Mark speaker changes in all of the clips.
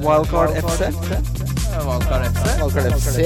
Speaker 1: Wildcard FC.
Speaker 2: Valkar FC.
Speaker 1: Wildcard FC.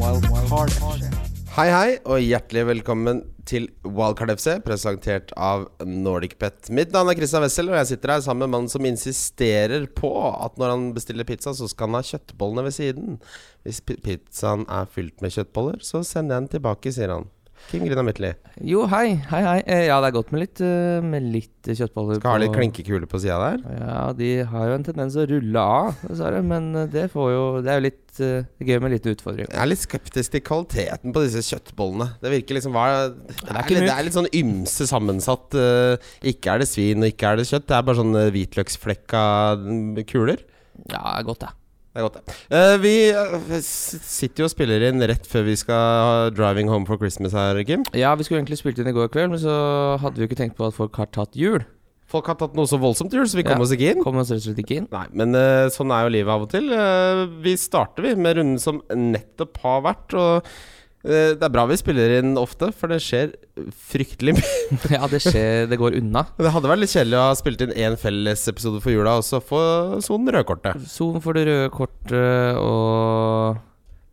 Speaker 1: Wildcard FC.
Speaker 3: Hei, hei, og hjertelig velkommen til Wildcard FC, presentert av Nordic Pet. Mitt navn er Christian Wessel, og jeg sitter her sammen med mannen som insisterer på at når han bestiller pizza, så skal han ha kjøttbollene ved siden. Hvis pi- pizzaen er fylt med kjøttboller, så sender jeg den tilbake, sier han. Kim Grina Midtly.
Speaker 2: Jo, hei. Hei, hei. Eh, Ja, det er godt med litt, eh, med litt eh, kjøttboller.
Speaker 3: Skal ha litt
Speaker 2: på-
Speaker 3: klinkekule på sida der.
Speaker 2: Ja, de har jo en tendens å rulle av, dessverre. Men eh, det, får jo, det er jo litt eh, gøy med litt utfordring.
Speaker 3: Jeg er litt skeptisk til kvaliteten på disse kjøttbollene. Det virker liksom hva Det er,
Speaker 2: ikke
Speaker 3: litt,
Speaker 2: mye.
Speaker 3: det er litt sånn ymse sammensatt. eh, Ikke er det svin, og ikke er det kjøtt. Det er bare sånn eh, hvitløksflekka mm, kuler.
Speaker 2: Ja, godt, det.
Speaker 3: Det er godt, det. Eh, vi eh, s- sitter jo og spiller inn rett før vi skal ha 'Driving Home for Christmas' her, Kim.
Speaker 2: Ja, vi skulle egentlig spilt inn i går kveld, men så hadde vi jo ikke tenkt på at folk har tatt jul.
Speaker 3: Folk har tatt noe så voldsomt til jul, så vi kom
Speaker 2: Ja.
Speaker 3: oss ikke inn.
Speaker 2: Kom oss rett og slett ikke inn.
Speaker 3: Nei, men eh, sånn er jo livet av og til. Eh, vi starter vi med runden som nettopp har vært, og eh, det er bra vi spiller inn ofte, for det skjer fryktelig mye.
Speaker 2: Ja, det skjer. Det går unna.
Speaker 3: Det hadde vært litt kjedelig å ha spilt inn én fellesepisode for jula, og så få sonen rødkortet.
Speaker 2: Zoom for det røde kortet og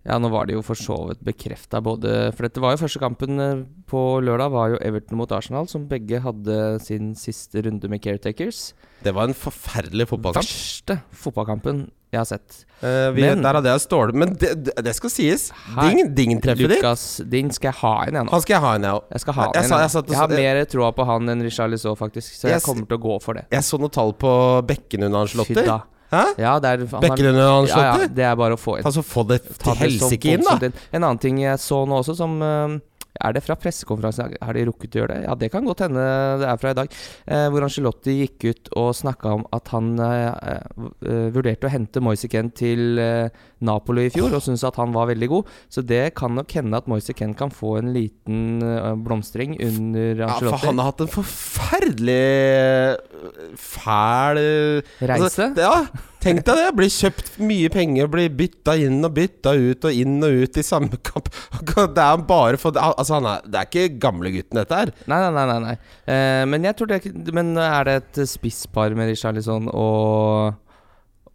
Speaker 2: Ja, nå var det jo for så vidt bekrefta både For dette var jo første kampen eh, på lørdag, var jo Everton mot Arsenal, som begge hadde sin siste runde med caretakers.
Speaker 3: Det var en forferdelig fotballkamp.
Speaker 2: Verste fotballkampen jeg har sett.
Speaker 3: Eh, vi,
Speaker 2: Men-
Speaker 3: der hadde jeg stålet, men det, det- det skal sies.
Speaker 2: Her-
Speaker 3: Ding, ding treffer de.
Speaker 2: Lukas, din skal jeg ha inn, jeg nå.
Speaker 3: Han skal jeg ha en, jeg òg.
Speaker 2: Jeg skal ha
Speaker 3: Jeg
Speaker 2: han
Speaker 3: sa-
Speaker 2: inn.
Speaker 3: jeg satt
Speaker 2: Jeg,
Speaker 3: og
Speaker 2: har
Speaker 3: så-
Speaker 2: mer troa på han enn Richard Lissaud, faktisk, så
Speaker 3: Jeg
Speaker 2: jeg
Speaker 3: s-
Speaker 2: kommer til å gå for det.
Speaker 3: Jeg så noen tall på bekken under Ancelotti.
Speaker 2: Fy da.
Speaker 3: Hæ?
Speaker 2: Ja, det er, han har-
Speaker 3: Bekken under
Speaker 2: ja, ja,
Speaker 3: Ancelotti?
Speaker 2: det er bare å få inn.
Speaker 3: Altså, få det
Speaker 2: Ta
Speaker 3: til
Speaker 2: det så
Speaker 3: helsike inn,
Speaker 2: voldsomt
Speaker 3: da!
Speaker 2: En annen ting jeg så nå også, som eh, Er det fra pressekonferansen? i dag? Har de rukket å gjøre det? Ja, det kan godt hende det er fra i dag. Eh, hvor Angelotti gikk ut og snakka om at han eh, eh, vurderte å hente Moisiken til eh, Napoli i fjor, og syntes at han var veldig god. Så det kan nok hende at Moisiken kan få en liten eh, blomstring under
Speaker 3: Ja, for
Speaker 2: Angelotti.
Speaker 3: han har hatt en forferdelig øh, fæl øh,
Speaker 2: Reise?
Speaker 3: Altså, ja, tenk deg det. Blir kjøpt mye penger, blir bytta inn og bytta ut og inn og ut i samme kamp. Det er bare for Altså, han er, det er ikke gamlegutten, dette her.
Speaker 2: Nei, nei, nei. nei, nei. Eh, men jeg tror det er- Men er det et spisspar med Richarlison og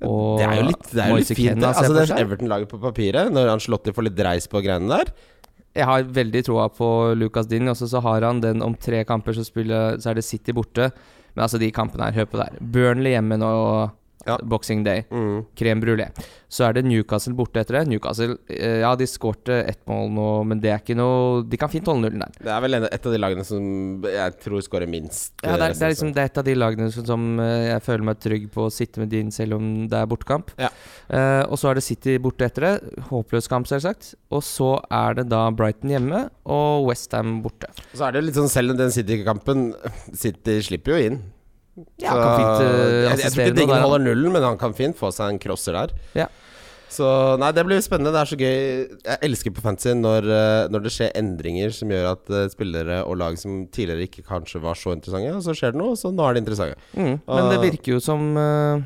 Speaker 2: og
Speaker 3: Det er jo litt, det er jo litt
Speaker 2: Moise
Speaker 3: fint.
Speaker 2: Kenan,
Speaker 3: Det.
Speaker 2: ser jeg
Speaker 3: Altså,
Speaker 2: for
Speaker 3: det
Speaker 2: seg.
Speaker 3: er Everton-laget på papiret, når Ancelotti får litt dreis på greiene der
Speaker 2: Jeg har veldig troa på Lucas Dini. Også så har han den om tre kamper, så, spiller, så er det City borte. Men altså, de kampene her, hør på det her. Burnley hjemme nå,
Speaker 3: Ja.
Speaker 2: Boxing Day.
Speaker 3: mm.
Speaker 2: Crème brulé. Så er det Newcastle borte etter det. Newcastle, eh, ja, de skårte ett mål nå, men det er ikke noe De kan fint holde nullen der.
Speaker 3: Det er vel en- et av de lagene som jeg tror skårer minst. øh,
Speaker 2: Ja, det, er, det,
Speaker 3: resten
Speaker 2: er
Speaker 3: av
Speaker 2: liksom, det er et av de lagene som, som eh, jeg føler meg trygg på å sitte med din selv om det er bortekamp.
Speaker 3: Ja.
Speaker 2: Eh, og så er det City borte etter det. Håpløs kamp, selvsagt. Og så er det da Brighton hjemme og Westham borte.
Speaker 3: sesongen. Så er det jo litt sånn, selv om den City-kampen City slipper jo inn.
Speaker 2: Ja,
Speaker 3: så,
Speaker 2: kan fint, eh,
Speaker 3: jeg, jeg
Speaker 2: assistere
Speaker 3: tror ikke
Speaker 2: noe der,
Speaker 3: Dingen
Speaker 2: han.
Speaker 3: holder nullen, men han kan fint få seg en crosser der.
Speaker 2: Ja.
Speaker 3: Så nei, det blir spennende. Det er så gøy. Jeg elsker på fantasy når, eh, når det skjer endringer som gjør at eh, spillere og lag som tidligere ikke kanskje var så interessante, og så skjer det noe, så nå er de interessante.
Speaker 2: Mm, men det
Speaker 3: Ah.
Speaker 2: virker jo som eh,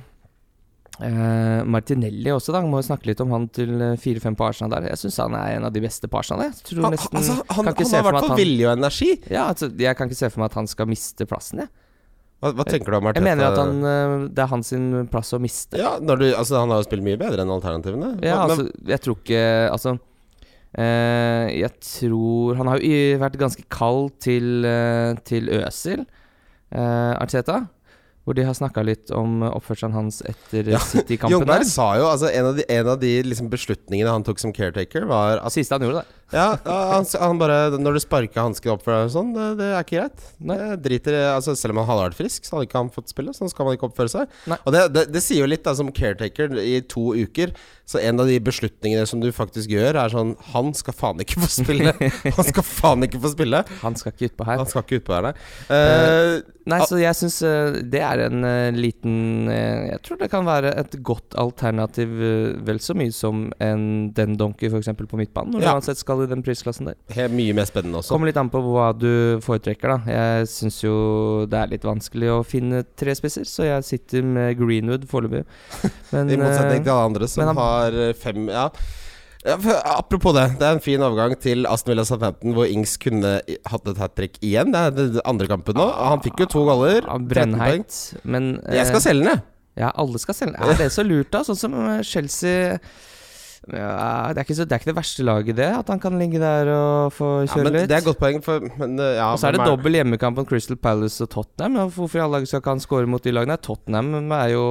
Speaker 2: eh, Martinelli også, da. Må jo snakke litt om han til eh, 4-5 på Arsenal der. Jeg syns han er en av de beste på Arsenal. jeg. Jeg tror
Speaker 3: Han,
Speaker 2: nesten,
Speaker 3: altså, han,
Speaker 2: kan
Speaker 3: han
Speaker 2: ikke
Speaker 3: har
Speaker 2: se
Speaker 3: i
Speaker 2: for meg
Speaker 3: hvert
Speaker 2: at
Speaker 3: fall
Speaker 2: han
Speaker 3: vilje og energi.
Speaker 2: ja, altså, jeg kan ikke se for meg at han skal miste plassen. Jeg,
Speaker 3: Hva, hva tenker du om
Speaker 2: jeg mener at han, eh, det er hans sin plass å miste.
Speaker 3: ja, når du, altså, Han har jo spilt mye bedre enn alternativene.
Speaker 2: Ja,
Speaker 3: Hva- men-
Speaker 2: altså, jeg tror ikke Altså eh, jeg tror Han har jo i- vært ganske kald til, eh, til Øsil, eh, Arteta. Hvor de har snakka litt om oppførselen hans etter
Speaker 3: Ja,
Speaker 2: City-kampen.
Speaker 3: Jungberg
Speaker 2: der.
Speaker 3: sa jo altså en av de, en av de liksom, beslutningene han tok som caretaker, var at
Speaker 2: Siste han gjorde, da.
Speaker 3: ja, han, han bare Når du sparker hansken opp for deg og sånn, det, det er ikke greit.
Speaker 2: Nei.
Speaker 3: Det driter i- altså, Selv om han hadde vært frisk, så hadde ikke han fått spille. Sånn skal man ikke oppføre seg.
Speaker 2: Nei.
Speaker 3: Og det, det, det sier jo litt, da, som caretaker i to uker. Så en av de beslutningene som du faktisk gjør, er sånn Han skal faen ikke få spille! Han skal faen ikke få spille!
Speaker 2: Han skal ikke utpå her.
Speaker 3: Han skal ikke utpå her, nei. Eh,
Speaker 2: Nei, så jeg syns det er en eh, liten eh, Jeg tror det kan være et godt alternativ eh, vel så mye som en Den Donkey, f.eks., på midtbanen. Når
Speaker 3: Ja.
Speaker 2: du uansett skal i den prisklassen der.
Speaker 3: helt mye mer spennende også.
Speaker 2: Kommer litt an på hva du foretrekker, da. Jeg syns jo det er litt vanskelig å finne tre spisser, så jeg sitter med Greenwood foreløpig. Men,
Speaker 3: I
Speaker 2: eh,
Speaker 3: motsetning til alle andre som
Speaker 2: men han-
Speaker 3: har eh, fem Ja. Ja, for, apropos det. Det er en fin overgang til Aston Villa Southampton, hvor Ings kunne i- hatt et hat trick igjen. Det er den andre kampen nå. Han fikk jo to goller.
Speaker 2: Ja,
Speaker 3: 13 poeng.
Speaker 2: Brennheit. Men eh,
Speaker 3: Jeg skal selge den, jeg.
Speaker 2: Ja, alle skal selge. Er det så lurt, da? Sånn som eh, Chelsea ja, det, er ikke så, det er ikke det verste laget, det. At han kan ligge der og få
Speaker 3: Ja,
Speaker 2: kjøre
Speaker 3: men
Speaker 2: litt.
Speaker 3: det er et godt poeng, for men, eh, ja,
Speaker 2: og så er det
Speaker 3: hvem
Speaker 2: dobbel hjemmekamp mot Crystal Palace og Tottenham. Ja, hvorfor i alle dager skal ikke han score mot de lagene? Tottenham er jo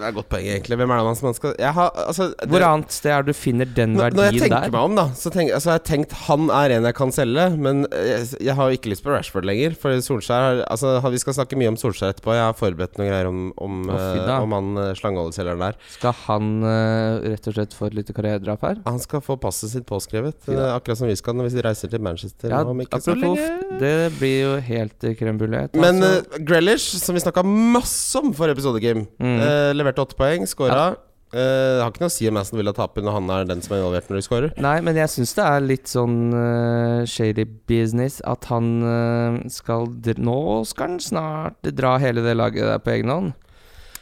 Speaker 3: Det er et godt poeng, egentlig. Hvem er det man man skal Jeg har altså det,
Speaker 2: Hvor annet sted er det du finner den
Speaker 3: Når- Når jeg
Speaker 2: verdien
Speaker 3: tenker
Speaker 2: der?
Speaker 3: meg om, da, så tenk, altså, jeg har tenkt han er en jeg kan selge. Men eh, jeg, jeg har jo ikke lyst på Rashford lenger. For Solskjær har- altså, han- Vi skal snakke mye om Solskjær etterpå. Jeg har forberedt noen greier om, om,
Speaker 2: Å, fy
Speaker 3: eh,
Speaker 2: da.
Speaker 3: om han eh, slangeholdeselgeren der.
Speaker 2: Skal han eh, rett og slett få et lite karrieredrap her?
Speaker 3: Han skal få passet sitt påskrevet,
Speaker 2: Fy da.
Speaker 3: eh, akkurat som vi skal når vi reiser til Manchester
Speaker 2: Ja,
Speaker 3: om ikke så
Speaker 2: apropos,
Speaker 3: lenge.
Speaker 2: det blir jo helt eh, crème brulette.
Speaker 3: Men
Speaker 2: altså.
Speaker 3: eh, Grealish, som vi snakka masse om forrige episode, Kim,
Speaker 2: Mm.
Speaker 3: eh, leverte åtte poeng, scora. Eh, det har ikke noe å si om Aston Villa taper når han er den som er involvert når de scorer.
Speaker 2: Nei, men jeg syns det er litt sånn eh, shady business at han eh, skal dr Nå skal han snart dra hele det laget der på egen hånd.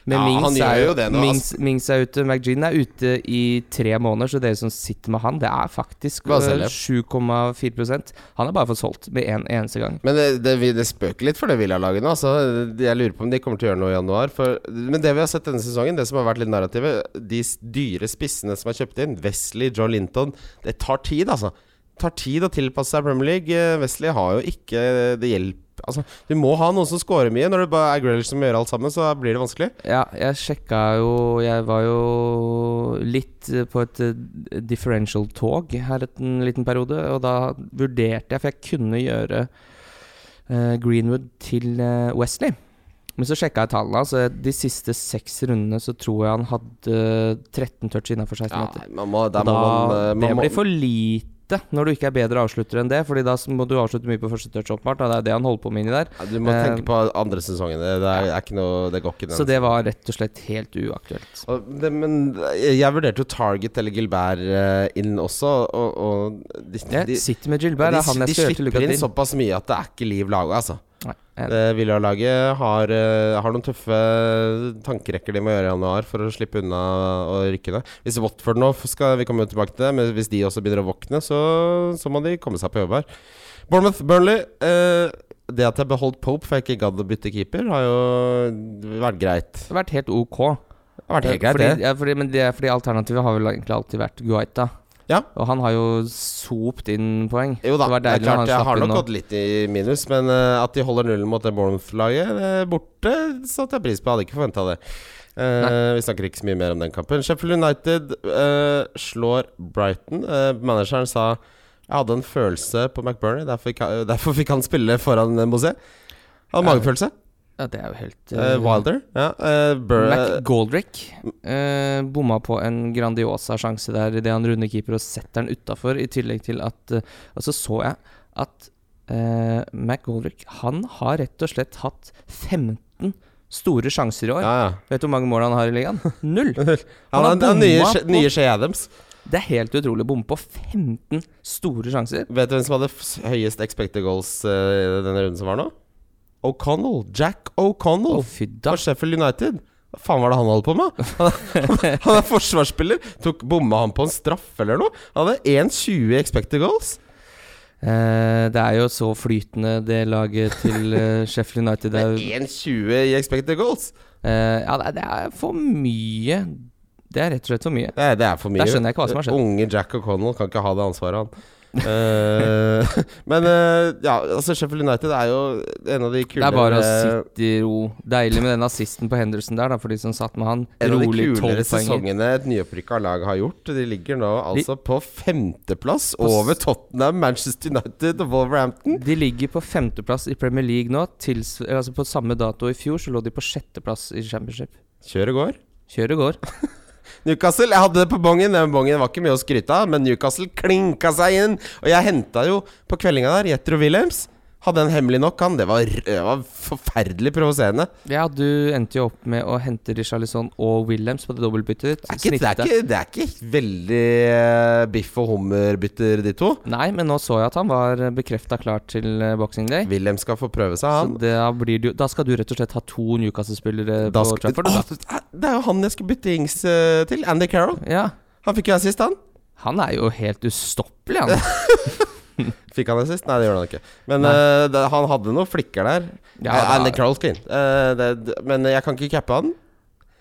Speaker 2: Men
Speaker 3: Ja, han
Speaker 2: Mings,
Speaker 3: gjør
Speaker 2: er,
Speaker 3: jo det nå, altså.
Speaker 2: Mings, Mings er ute, McGean er ute i tre måneder, så dere som sitter med han, det er faktisk
Speaker 3: Hva
Speaker 2: eh,
Speaker 3: selger?
Speaker 2: 7,4 Han er bare fått solgt med en eneste gang.
Speaker 3: Men det, det, vi- det spøker litt for det Villa-laget nå. Altså, jeg lurer på om de kommer til å gjøre noe i januar. For, men det vi har sett denne sesongen, det som har vært litt narrativet, de s- dyre spissene som er kjøpt inn, Wesley, Joe Linton Det tar tid, altså. Det tar tid å tilpasse seg Premier League. Eh, Wesley har jo ikke det hjelp Altså, du må ha noen som scorer mye. Når det bare er Grealish som gjør alt sammen, så blir det vanskelig.
Speaker 2: Ja, jeg sjekka jo Jeg var jo litt eh, på et eh, differential-tog her et- en liten periode, og da vurderte jeg, for jeg kunne gjøre eh, Greenwood til eh, Wesley. Men så sjekka jeg tallene. Så de siste seks rundene så tror jeg han hadde 13 touch innafor 16 meter.
Speaker 3: Nei, man må,
Speaker 2: Og
Speaker 3: der
Speaker 2: da,
Speaker 3: må man, eh,
Speaker 2: det
Speaker 3: man må,
Speaker 2: blir for lite når du ikke er bedre avslutter enn det, Fordi da må du avslutte mye på første touch, åpenbart. da. Det er det han holder på med inni der.
Speaker 3: Ja, Du må
Speaker 2: eh,
Speaker 3: tenke på andre sesongen. Det, det, er, er ikke noe, det går ikke. den
Speaker 2: Så det var rett og slett helt uaktuelt.
Speaker 3: Og det, men jeg vurderte jo Target eller Gilbert eh, inn også, og, og de,
Speaker 2: Jeg
Speaker 3: de,
Speaker 2: sitter med Gilbert. Det er han
Speaker 3: de
Speaker 2: jeg skal gjøre til
Speaker 3: slipper
Speaker 2: lykke
Speaker 3: inn
Speaker 2: til.
Speaker 3: såpass mye at det er ikke liv laga, altså.
Speaker 2: Nei, jeg-
Speaker 3: Det Villa-laget har, eh, har noen tøffe tankerekker de må gjøre i januar for å slippe unna å rykke ned. Hvis Watford nå skal Vi kommer jo tilbake til det, men hvis de også begynner å våkne, så, så må de komme seg på jobb her. Bournemouth, Burnley. eh, det at jeg beholdt Pope for jeg ikke gadd å bytte keeper, har jo vært greit.
Speaker 2: Det har vært helt ok. Eh,
Speaker 3: Det har vært helt greit,
Speaker 2: fordi,
Speaker 3: det.
Speaker 2: ja, fordi, men det er fordi alternativet har vel egentlig alltid vært Guaita.
Speaker 3: Ja.
Speaker 2: Og han har jo sopt inn poeng.
Speaker 3: Jo da,
Speaker 2: det var
Speaker 3: det er
Speaker 2: deilig når
Speaker 3: klart
Speaker 2: han
Speaker 3: jeg
Speaker 2: slapp
Speaker 3: har
Speaker 2: inn
Speaker 3: nok
Speaker 2: nå.
Speaker 3: gått litt i minus, men eh, at de holder nullen mot det Bournemouth-laget eh, borte, satte jeg pris på. Hadde ikke forventa det. Eh, vi snakker ikke så mye mer om den kampen. Sheffield United eh, slår Brighton. Eh, manageren sa jeg hadde en følelse på McBurney, derfor, fikk han- derfor fikk han spille foran eh, Mosé. Han hadde
Speaker 2: Ja.
Speaker 3: magefølelse.
Speaker 2: Ja, det er jo helt
Speaker 3: Eh, Wilder. Ja, eh, Bur-
Speaker 2: Mac Goldrick eh, bomma på en Grandiosa sjanse der idet han runder keeper og setter den utafor, i tillegg til at eh, Og så så jeg at eh, Mac Goldrick, han har rett og slett hatt 15 store sjanser i år.
Speaker 3: ja, ja.
Speaker 2: Vet du hvor mange mål han har i ligaen? Null!
Speaker 3: Han
Speaker 2: har
Speaker 3: er den nye,
Speaker 2: bomma
Speaker 3: Shea-
Speaker 2: på-
Speaker 3: nye Shea Adams.
Speaker 2: Det er helt utrolig. Bomme på 15 store sjanser.
Speaker 3: Vet du hvem som hadde f- høyest expected goals eh, i denne runden som var nå? O'Connell. Jack O'Connell
Speaker 2: Å, fy da.
Speaker 3: på Sheffield United. Hva faen var det han holdt på med? Han, han er forsvarsspiller. Tok Bomma han på en straff eller noe? Han hadde 1,20 expected goals.
Speaker 2: Eh, det er jo så flytende, det laget til eh, Sheffield United.
Speaker 3: Det
Speaker 2: Det
Speaker 3: er
Speaker 2: er,
Speaker 3: 1,20 i expected goals!
Speaker 2: eh, ja, det er- det er for mye. Det er rett og slett for mye.
Speaker 3: Det er, det er for mye.
Speaker 2: Der skjønner jeg ikke hva som har skjedd.
Speaker 3: Unge Jack O'Connell kan ikke ha det ansvaret, han. Eh, men eh, ja, altså Sheffield United er jo en av de
Speaker 2: Det
Speaker 3: kulere
Speaker 2: er bare å sitte i ro. Deilig med den assisten på Henderson der, da, for de som satt med han.
Speaker 3: En av de
Speaker 2: Rolig
Speaker 3: kulere
Speaker 2: 12 poenger.
Speaker 3: sesongene et nyopprykka lag har gjort. De ligger nå altså på femteplass over Tottenham, Manchester United og Wolverhampton.
Speaker 2: De ligger på femteplass i Premier League nå. Tils, eller altså på samme dato i fjor så lå de på sjetteplass i Championship.
Speaker 3: Kjøret går.
Speaker 2: Kjøret går.
Speaker 3: Newcastle, jeg hadde det på bongen. Den bongen var ikke mye å skryte av, men Newcastle klinka seg inn. Og jeg henta jo på kveldinga der Jetro Williams. Hadde en hemmelig nok, han. Det var, r- det var forferdelig provoserende.
Speaker 2: Ja, du endte jo opp med å hente Richarlison og Williams på det dobbeltbyttet ditt.
Speaker 3: Det er ikke, det er ikke, det er ikke veldig eh, biff og hummerbytter, de to.
Speaker 2: Nei, men nå så jeg at han var bekrefta klar til eh, Boxing Day.
Speaker 3: William skal få prøve seg, han.
Speaker 2: Så da, blir det jo, da skal du rett og slett ha to Newcastle-spillere
Speaker 3: Da
Speaker 2: på
Speaker 3: skal, Ah!
Speaker 2: Trafford? du,
Speaker 3: Åh, det er jo han jeg skulle bytte Ings eh, til. Andy Carroll.
Speaker 2: Da. Ja.
Speaker 3: Han fikk jo assist, han.
Speaker 2: Han er jo helt ustoppelig, han. Eh,
Speaker 3: Fikk han det sist? Nei, det gjorde han ikke. Men eh, det, han hadde noen flikker der.
Speaker 2: Ja,
Speaker 3: Eh,
Speaker 2: da-
Speaker 3: Andy Carlton. Eh, det- det- men jeg kan ikke cappe han.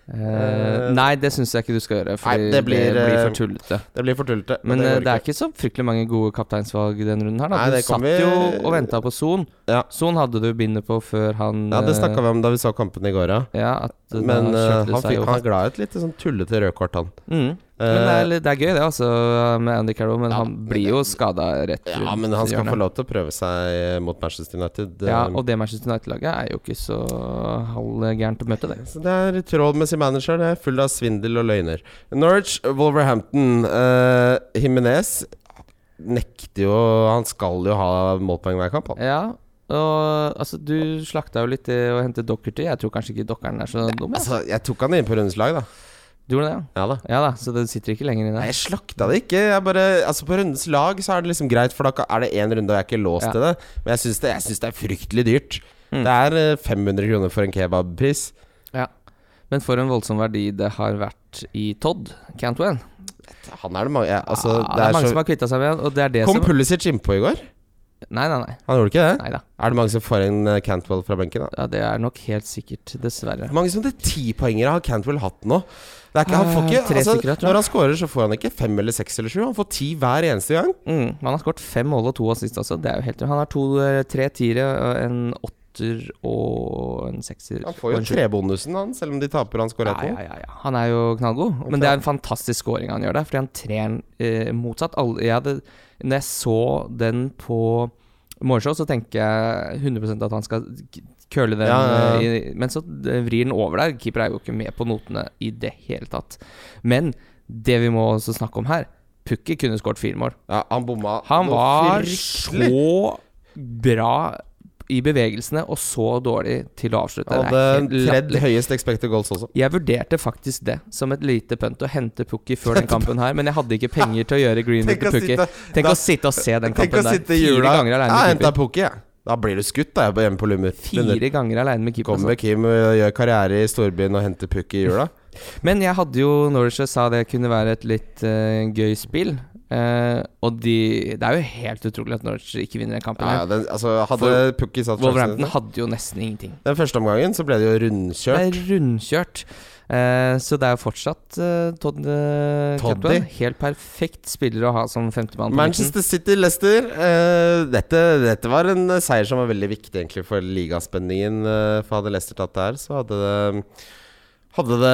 Speaker 2: Eh, nei, det syns jeg ikke du skal gjøre, for
Speaker 3: Nei,
Speaker 2: det
Speaker 3: det blir,
Speaker 2: blir,
Speaker 3: eh,
Speaker 2: for tullete.
Speaker 3: Det blir for tullete.
Speaker 2: Men eh,
Speaker 3: går
Speaker 2: det er ikke så fryktelig mange gode kapteinsvalg denne runden her. Da.
Speaker 3: Nei,
Speaker 2: du
Speaker 3: det
Speaker 2: satt
Speaker 3: kommer-
Speaker 2: jo og venta på Son.
Speaker 3: Ja.
Speaker 2: Son hadde du bindet på før han
Speaker 3: Ja, det snakka vi om da vi så kampen i går, ja.
Speaker 2: Ja, at eh,
Speaker 3: Men
Speaker 2: da
Speaker 3: eh,
Speaker 2: kjørte
Speaker 3: han,
Speaker 2: det seg
Speaker 3: fikk,
Speaker 2: jo
Speaker 3: han glad i et lite sånn tullete rødkort, han.
Speaker 2: Mm.
Speaker 3: Eh,
Speaker 2: Men det er, litt- det er gøy, det, altså, med Andy Carroll. Men
Speaker 3: Ja,
Speaker 2: han blir jo skada rett
Speaker 3: ja,
Speaker 2: rundt
Speaker 3: men han skal
Speaker 2: hjørnet.
Speaker 3: få lov til å prøve seg eh, mot Manchester United. Det-
Speaker 2: Ja, og det Manchester United-laget er jo ikke så halvgærent å møte, det.
Speaker 3: Så det er i tråd med sin manager. Det er full av svindel og løgner. Norwich, Wolverhampton. Uh, Himinez nekter jo Han skal jo ha målpoeng hver kamp, han.
Speaker 2: Ja, og altså, du slakta jo litt det å hente Dockerty. Jeg tror kanskje ikke Dockeren er så dum. jeg.
Speaker 3: Altså, jeg tok han inn på rundens lag, da.
Speaker 2: Du gjorde det, ja?
Speaker 3: Ja da.
Speaker 2: Ja da, så det sitter ikke lenger inne.
Speaker 3: Nei, jeg slakta det ikke. Jeg bare, altså På rundens lag så er det liksom greit, for da kan- er det én runde, og jeg er ikke låst
Speaker 2: Ja.
Speaker 3: til det. Men jeg syns det, jeg synes det er fryktelig dyrt.
Speaker 2: Mm.
Speaker 3: Det er eh, 500 kroner for en kebabpris.
Speaker 2: Men for en voldsom verdi det har vært i Todd Cantwell.
Speaker 3: Han er det mange ja, altså,
Speaker 2: ja, det er, mange som har kvitta seg med han, og det er det
Speaker 3: så... Kom
Speaker 2: som
Speaker 3: Pulisic innpå i går?
Speaker 2: Nei, nei, nei.
Speaker 3: Han gjorde ikke det?
Speaker 2: Neida.
Speaker 3: Er det mange som får en eh, Cantwell fra benken? da?
Speaker 2: Ja, det er nok helt sikkert, dessverre.
Speaker 3: Hvor mange sånne tipoengere har Cantwell hatt nå? Det er ikke, han får
Speaker 2: Eh,
Speaker 3: ikke,
Speaker 2: tre
Speaker 3: altså,
Speaker 2: stykker, jeg tror.
Speaker 3: når han scorer, så får han ikke fem eller seks eller sju. Han får ti hver eneste gang.
Speaker 2: Mm, han har skåret fem mål og to assist også. Det er jo helt Han har to, eh, tre tiere, og en åtter og en sekser.
Speaker 3: Han får
Speaker 2: og
Speaker 3: jo
Speaker 2: en sjuer.
Speaker 3: trebonusen, han, selv om de taper og han scorer
Speaker 2: Ja,
Speaker 3: ett
Speaker 2: ja,
Speaker 3: mål.
Speaker 2: ja, ja. Han er jo knallgod. Men det er en fantastisk scoring han gjør der, fordi han trer den eh, motsatt. Alle, jeg hadde, når jeg så den på morgenshow, så tenker jeg 100 at han skal k- curle den,
Speaker 3: Ja, ja, ja.
Speaker 2: eh, i- men så eh, vrir den over der. Keeper er jo ikke med på notene i det hele tatt. Men det vi må også snakke om her Pukki kunne skåret fire mål.
Speaker 3: Ja, han bomma
Speaker 2: Han
Speaker 3: noe
Speaker 2: var
Speaker 3: fryktelig.
Speaker 2: så bra i bevegelsene og så dårlig til å avslutte.
Speaker 3: Han
Speaker 2: Det er helt
Speaker 3: hadde
Speaker 2: latterlig.
Speaker 3: tredje høyest expected goals også.
Speaker 2: Jeg vurderte faktisk det som et lite punt å hente Pukki før den kampen her, men jeg hadde ikke penger til å gjøre Greenwood
Speaker 3: Tenk å
Speaker 2: til Pukki.
Speaker 3: sitte-
Speaker 2: Tenk
Speaker 3: da-
Speaker 2: å sitte og se den
Speaker 3: Tenk å
Speaker 2: kampen der.
Speaker 3: sitte i
Speaker 2: Fire
Speaker 3: jula
Speaker 2: ganger
Speaker 3: Ja,
Speaker 2: aleine med
Speaker 3: henta
Speaker 2: keeper.
Speaker 3: Pukki, jeg. Da blir du skutt, da, hjemme på Lummer. Lummer.
Speaker 2: Fire ganger aleine med keeper.
Speaker 3: Kommer
Speaker 2: altså.
Speaker 3: Kim og gjør karriere i storbyen og henter Pukki i jula?
Speaker 2: Men jeg hadde jo Norwich og sa det kunne være et litt eh, gøy spill. Eh, og de Det er jo helt utrolig at Norwich ikke vinner den kampen.
Speaker 3: Ja, ja,
Speaker 2: her
Speaker 3: den, altså, hadde
Speaker 2: For-
Speaker 3: Pukki satt sjansen
Speaker 2: Wolverhampton hadde jo nesten ingenting.
Speaker 3: Den første omgangen så ble det jo rundkjørt.
Speaker 2: Det er rundkjørt. Eh, så det er jo fortsatt eh, Todd eh,
Speaker 3: Toddy.
Speaker 2: Cantwell. Helt perfekt spiller å ha som femtemann. på midten.
Speaker 3: Manchester City, Leicester. eh, dette, dette var en eh, seier som var veldig viktig egentlig for ligaspenningen. eh, for hadde Leicester tatt det her, så hadde det hadde det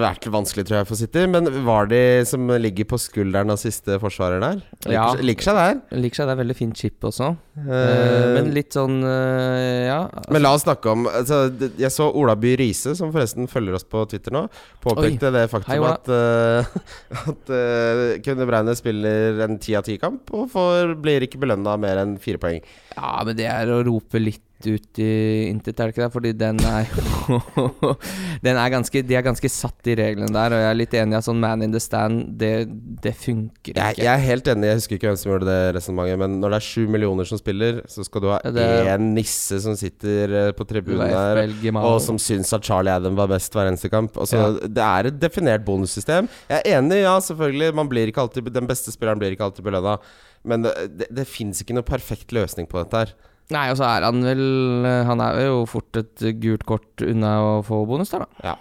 Speaker 3: vært vanskelig tror jeg for City. Men var de som ligger på skulderen av siste forsvarer der? Liker,
Speaker 2: Ja.
Speaker 3: liker seg der.
Speaker 2: Liker seg, det er veldig fint chip også.
Speaker 3: Eh,
Speaker 2: Eh, men
Speaker 3: men,
Speaker 2: litt sånn eh, Ja.
Speaker 3: la oss snakke om altså, det- Jeg så Olaby Riise, som forresten følger oss på Twitter nå, påpekte det
Speaker 2: Hei,
Speaker 3: faktum
Speaker 2: Ola.
Speaker 3: at, eh, at eh, Kunne Breine spiller en ti av ti-kamp og får, blir ikke belønna mer enn fire poeng.
Speaker 2: ja, men det er å rope litt ut i intet, er det ikke det? Fordi den er jo den er ganske, De er ganske satt i reglene der, og jeg er litt enig i at sånn man in the stand, det, det funker ikke.
Speaker 3: Jeg, jeg er helt enig, jeg husker ikke hvem som gjorde det resonnementet, men når det er sju millioner som spiller, så skal du ha
Speaker 2: Ja, det-
Speaker 3: én nisse som sitter eh, på tribunen der,
Speaker 2: Belgia,
Speaker 3: og som syns at Charlie Adam var best hver eneste kamp. Altså,
Speaker 2: Ja.
Speaker 3: Det er et definert bonussystem. Jeg er enig, ja, selvfølgelig. Man blir ikke alltid, den beste spilleren blir ikke alltid belønna. Men det, det, det fins ikke noe perfekt løsning på dette her.
Speaker 2: Nei, og så er han vel eh, Han er jo fort et gult kort unna å få bonus der, da.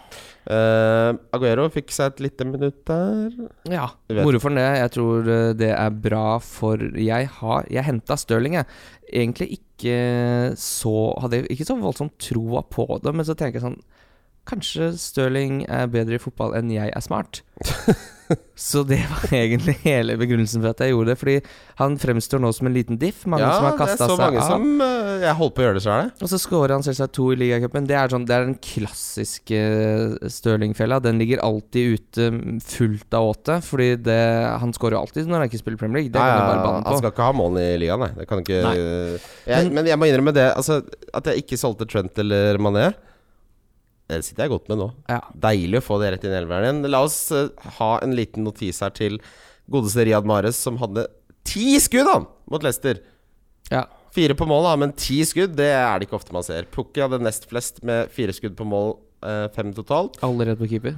Speaker 3: Eh, Aguero fikk seg et lite minutt der.
Speaker 2: Ja.
Speaker 3: Du vet.
Speaker 2: Moro for det. Jeg tror eh, det er bra for Jeg har Jeg henta Stirling, jeg. Egentlig ikke så Hadde jeg ikke så voldsomt troa på det, men så tenker jeg sånn Kanskje Stirling er bedre i fotball enn jeg er smart. så det var egentlig hele begrunnelsen for at jeg gjorde det. Fordi han fremstår nå som en liten diff. Mange
Speaker 3: ja,
Speaker 2: som har
Speaker 3: det er
Speaker 2: kasta
Speaker 3: så
Speaker 2: seg
Speaker 3: mange
Speaker 2: av.
Speaker 3: som eh, Jeg holdt på å gjøre det, så er det.
Speaker 2: Og så scorer han selvsagt to i ligacupen. Det er sånn, det er den klassiske eh, Stirling-fella. Den ligger alltid ute mm, fullt av åte, fordi det, han scorer jo alltid når han ikke spiller Premier League. Det
Speaker 3: Nei,
Speaker 2: kan du bare
Speaker 3: ja,
Speaker 2: banne
Speaker 3: Han
Speaker 2: på.
Speaker 3: skal ikke ha målene i ligaen, nei. Det kan ikke
Speaker 2: Nei.
Speaker 3: jeg, Men jeg må innrømme det. Altså, at jeg ikke solgte Trent eller Mané, det sitter jeg godt med nå.
Speaker 2: Ja.
Speaker 3: Deilig å få det rett inn i elveren igjen. La oss eh, ha en liten notis her til godeste Riyad Mahrez, som hadde ti skudd han mot Leicester.
Speaker 2: Ja.
Speaker 3: Fire på mål, da, men ti skudd det er det ikke ofte man ser. Pukki hadde nest flest med fire skudd på mål, eh, fem totalt.
Speaker 2: Allerede på keeper.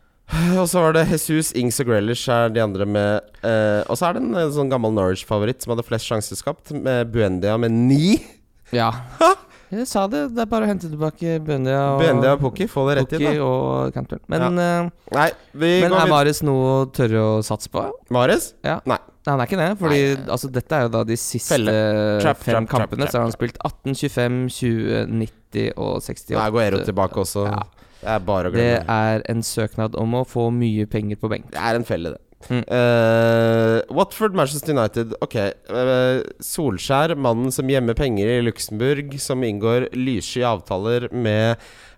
Speaker 3: Og så var det Jesus, Ings og Grealish er de andre med eh, Og så er det en, eh, sånn gammel Norwich-favoritt som hadde flest sjanser skapt, med Buendia med ni.
Speaker 2: Ja. Jeg sa det. Det er bare å hente tilbake Buendia og
Speaker 3: Buendia og Pukki, få det rett inn,
Speaker 2: Pukki
Speaker 3: da.
Speaker 2: og Cantwell. Men, eh,
Speaker 3: Nei, vi
Speaker 2: men
Speaker 3: går
Speaker 2: er
Speaker 3: videre.
Speaker 2: Mares noe å tørre å satse på?
Speaker 3: Mares?
Speaker 2: Ja.
Speaker 3: Nei.
Speaker 2: Nei, han er ikke det. Fordi altså, dette er jo da de siste fem
Speaker 3: Trap, trap, trap,
Speaker 2: kampene.
Speaker 3: trap,
Speaker 2: så har han spilt 18, 25, 20, 90 og 68.
Speaker 3: Nei, Guero tilbake også.
Speaker 2: Ja.
Speaker 3: Det er bare å
Speaker 2: Det
Speaker 3: glemme. Det er,
Speaker 2: er en søknad om å få mye penger på benk.
Speaker 3: en felle, det.
Speaker 2: Mm.
Speaker 3: Eh, Watford, Manchester United. Ok. eh, Solskjær, mannen som gjemmer penger i Luxembourg, som inngår lyssky avtaler med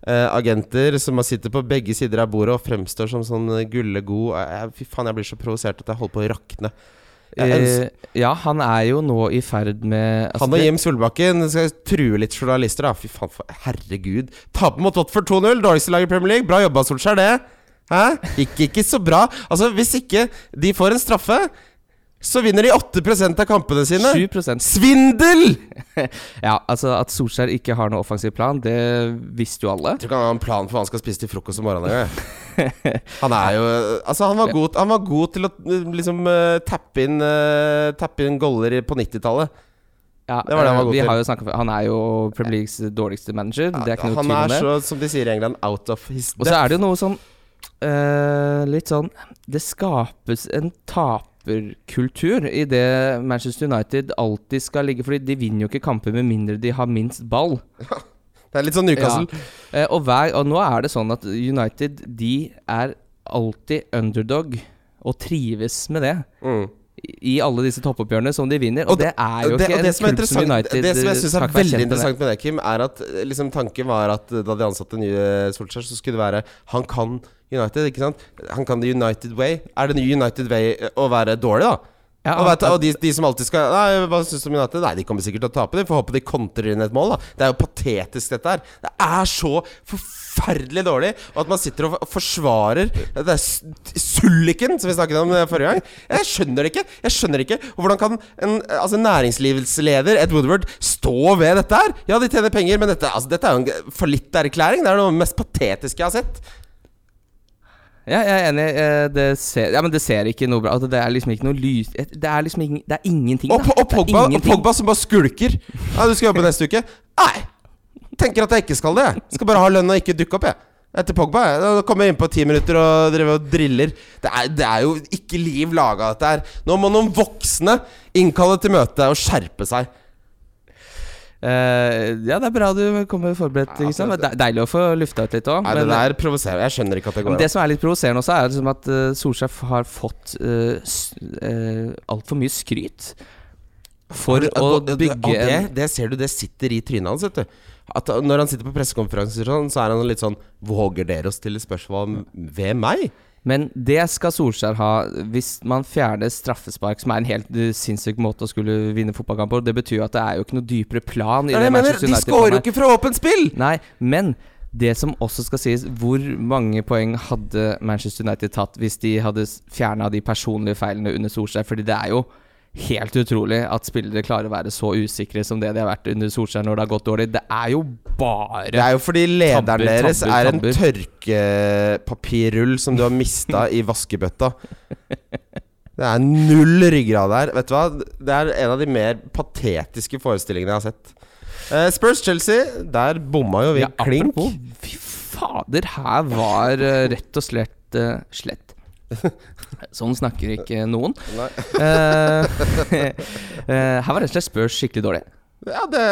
Speaker 3: eh, agenter, som har sitter på begge sider av bordet og fremstår som sånn gullegod Eh, Fy faen, jeg blir så provosert at jeg holder på å rakne. Jeg ønsker-
Speaker 2: Eh, ja, han er jo nå i ferd med altså,
Speaker 3: Han og
Speaker 2: det-
Speaker 3: Jim Solbakken skal true litt journalister, da. Fy faen, for, herregud. Tape mot Watford 2-0. Dårligste lag i Premier League. Bra jobba, Solskjær, det. Hæ? Gikk ikke så bra. Altså, hvis ikke de får en straffe, så vinner de 8 av kampene sine.
Speaker 2: 7
Speaker 3: Svindel! Jeg
Speaker 2: Ja, altså At Solskjær ikke har noen offensiv plan, det visste jo alle.
Speaker 3: tror ikke han har en plan for hva han skal spise til frokost om morgenen engang. Han er jo Altså, han var god, han var god til å eh, liksom eh, tappe inn, eh, tappe inn goller i- på 90-tallet.
Speaker 2: Ja,
Speaker 3: Det var det han var god
Speaker 2: Eh, vi
Speaker 3: til.
Speaker 2: har jo snakket, Han er jo Premier Leagues dårligste manager. det er ikke noe
Speaker 3: Han
Speaker 2: tvil om
Speaker 3: er
Speaker 2: det.
Speaker 3: så, som de sier i England, out of his
Speaker 2: Og så er det jo noe sånn eh, Litt sånn Det skapes en taperkultur i det Manchester United alltid skal ligge Fordi de vinner jo ikke kamper med mindre de har minst ball.
Speaker 3: Det er litt sånn Newcastle.
Speaker 2: Ja. Eh, og, hver, og nå er det sånn at United De er alltid underdog og trives med det.
Speaker 3: Mm.
Speaker 2: I alle disse toppoppgjørene som de vinner. Og,
Speaker 3: Og
Speaker 2: det er jo
Speaker 3: det,
Speaker 2: ikke
Speaker 3: og det
Speaker 2: en
Speaker 3: som
Speaker 2: klubb som
Speaker 3: er interessant
Speaker 2: United
Speaker 3: Det som
Speaker 2: eh,
Speaker 3: jeg synes er
Speaker 2: kan ikke være
Speaker 3: veldig
Speaker 2: kjent med det.
Speaker 3: interessant med det, Kim, er at eh, liksom, tanken var at eh, da de ansatte nye Solskjær, så skulle det være Han kan United, ikke sant? Han kan the United way. Er det nye United way eh, å være dårlig, da?
Speaker 2: Ja,
Speaker 3: og vet, du, og de, de som alltid skal Nei, hva syns du om United? Nei, de kommer sikkert til å tape, de. Får håpe de kontrer inn et mål, da. Det er jo patetisk, dette her. Det er så forferdelig dårlig. Og at man sitter og forsvarer Det er s- sulliken, som vi snakket om eh, forrige gang. Jeg skjønner det ikke. Jeg skjønner ikke Og Hvordan kan en altså, en næringslivsleder, Ed Woodward, stå ved dette her? Ja, de tjener penger, men dette, altså, dette er jo en fallitterklæring. Det er noe av det mest patetiske jeg har sett.
Speaker 2: Ja, jeg er enig. eh, Det ser, ja, men det ser ikke noe bra Altså, Det er liksom ikke noe lys Det er liksom ingen, det er ingenting, da.
Speaker 3: Og, og,
Speaker 2: Det er
Speaker 3: Pogba, og
Speaker 2: ingenting.
Speaker 3: Pogba som bare skulker. Ja, 'Du skal jobbe neste uke.' Nei! Tenker at jeg ikke skal det. jeg. Skal bare ha lønn og ikke dukke opp, jeg. Etter Pogba. jeg. Da kommer jeg inn på ti minutter og driver og driller. Det er, det er jo ikke liv laga, dette her. Nå må noen voksne innkalle til møte og skjerpe seg.
Speaker 2: Eh, ja, det er bra du kommer forberedt.
Speaker 3: Ja,
Speaker 2: Ikke sant?
Speaker 3: det-
Speaker 2: Det er deilig å få lufta ut litt òg.
Speaker 3: Nei, det der provoserer. Jeg skjønner ikke at det
Speaker 2: Men
Speaker 3: går
Speaker 2: det
Speaker 3: an.
Speaker 2: som er litt provoserende også, er liksom at eh, Solskjær f- har fått uh, uh, altfor mye skryt for å
Speaker 3: Og- og- og
Speaker 2: bygge en
Speaker 3: det, det ser du, det sitter i trynet hans, vet du. At når han sitter på pressekonferanser, og sånn, så er han litt sånn Våger dere å stille spørsmål om- ved meg?
Speaker 2: Men det skal Solskjær ha hvis man fjerner straffespark, som er en helt eh, sinnssyk måte å skulle vinne fotballkamper på. Det betyr jo at det er jo ikke noe dypere plan i
Speaker 3: Det
Speaker 2: det,
Speaker 3: er det jeg mener.
Speaker 2: Manchester
Speaker 3: De
Speaker 2: United.
Speaker 3: scorer jo ikke fra åpent spill!
Speaker 2: Nei, men det som også skal sies, hvor mange poeng hadde Manchester United tatt hvis de hadde fjerna de personlige feilene under Solskjær? Fordi det er jo helt utrolig at spillere klarer å være så usikre som det de har vært under Solskjær når det har gått dårlig. Det er jo
Speaker 3: Det
Speaker 2: bare
Speaker 3: er jo fordi lederen
Speaker 2: Tabber,
Speaker 3: deres
Speaker 2: tabber,
Speaker 3: er
Speaker 2: tabber.
Speaker 3: en tørkepapirrull som du har mista i vaskebøtta. Det er null ryggrad der. Vet du hva? Det er en av de mer patetiske forestillingene jeg har sett. Eh, Spurs Chelsea, der bomma jo vi
Speaker 2: Ja,
Speaker 3: klink.
Speaker 2: apropos, Fy fader, her var eh, rett og slett eh, slett. Sånn snakker ikke noen.
Speaker 3: Nei.
Speaker 2: Eh, eh, her var rett og slett Spurs skikkelig dårlig.
Speaker 3: Ja, det,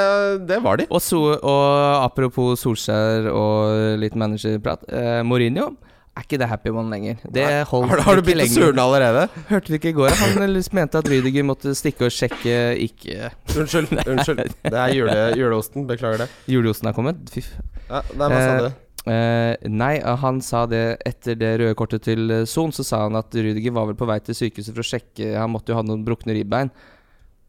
Speaker 3: det var de.
Speaker 2: Og, so, og apropos Solskjær og litt managerprat. Eh, Mourinho er ikke the happy one lenger. Det holdt
Speaker 3: Har, du- har du
Speaker 2: ikke
Speaker 3: begynt å
Speaker 2: lenger.
Speaker 3: surne allerede?
Speaker 2: Hørte vi ikke i går. Han liksom mente at Rydiger måtte stikke og sjekke ikke
Speaker 3: Unnskyld. unnskyld Det er jule, juleosten. Beklager det.
Speaker 2: juleosten har kommet. Fy f-
Speaker 3: Ja, nei, hva sa
Speaker 2: Eh,
Speaker 3: du?
Speaker 2: Eh, nei, han sa det etter det røde kortet til eh, Son. Så sa han at Rydiger var vel på vei til sykehuset for å sjekke Han måtte jo ha noen brukne ribbein.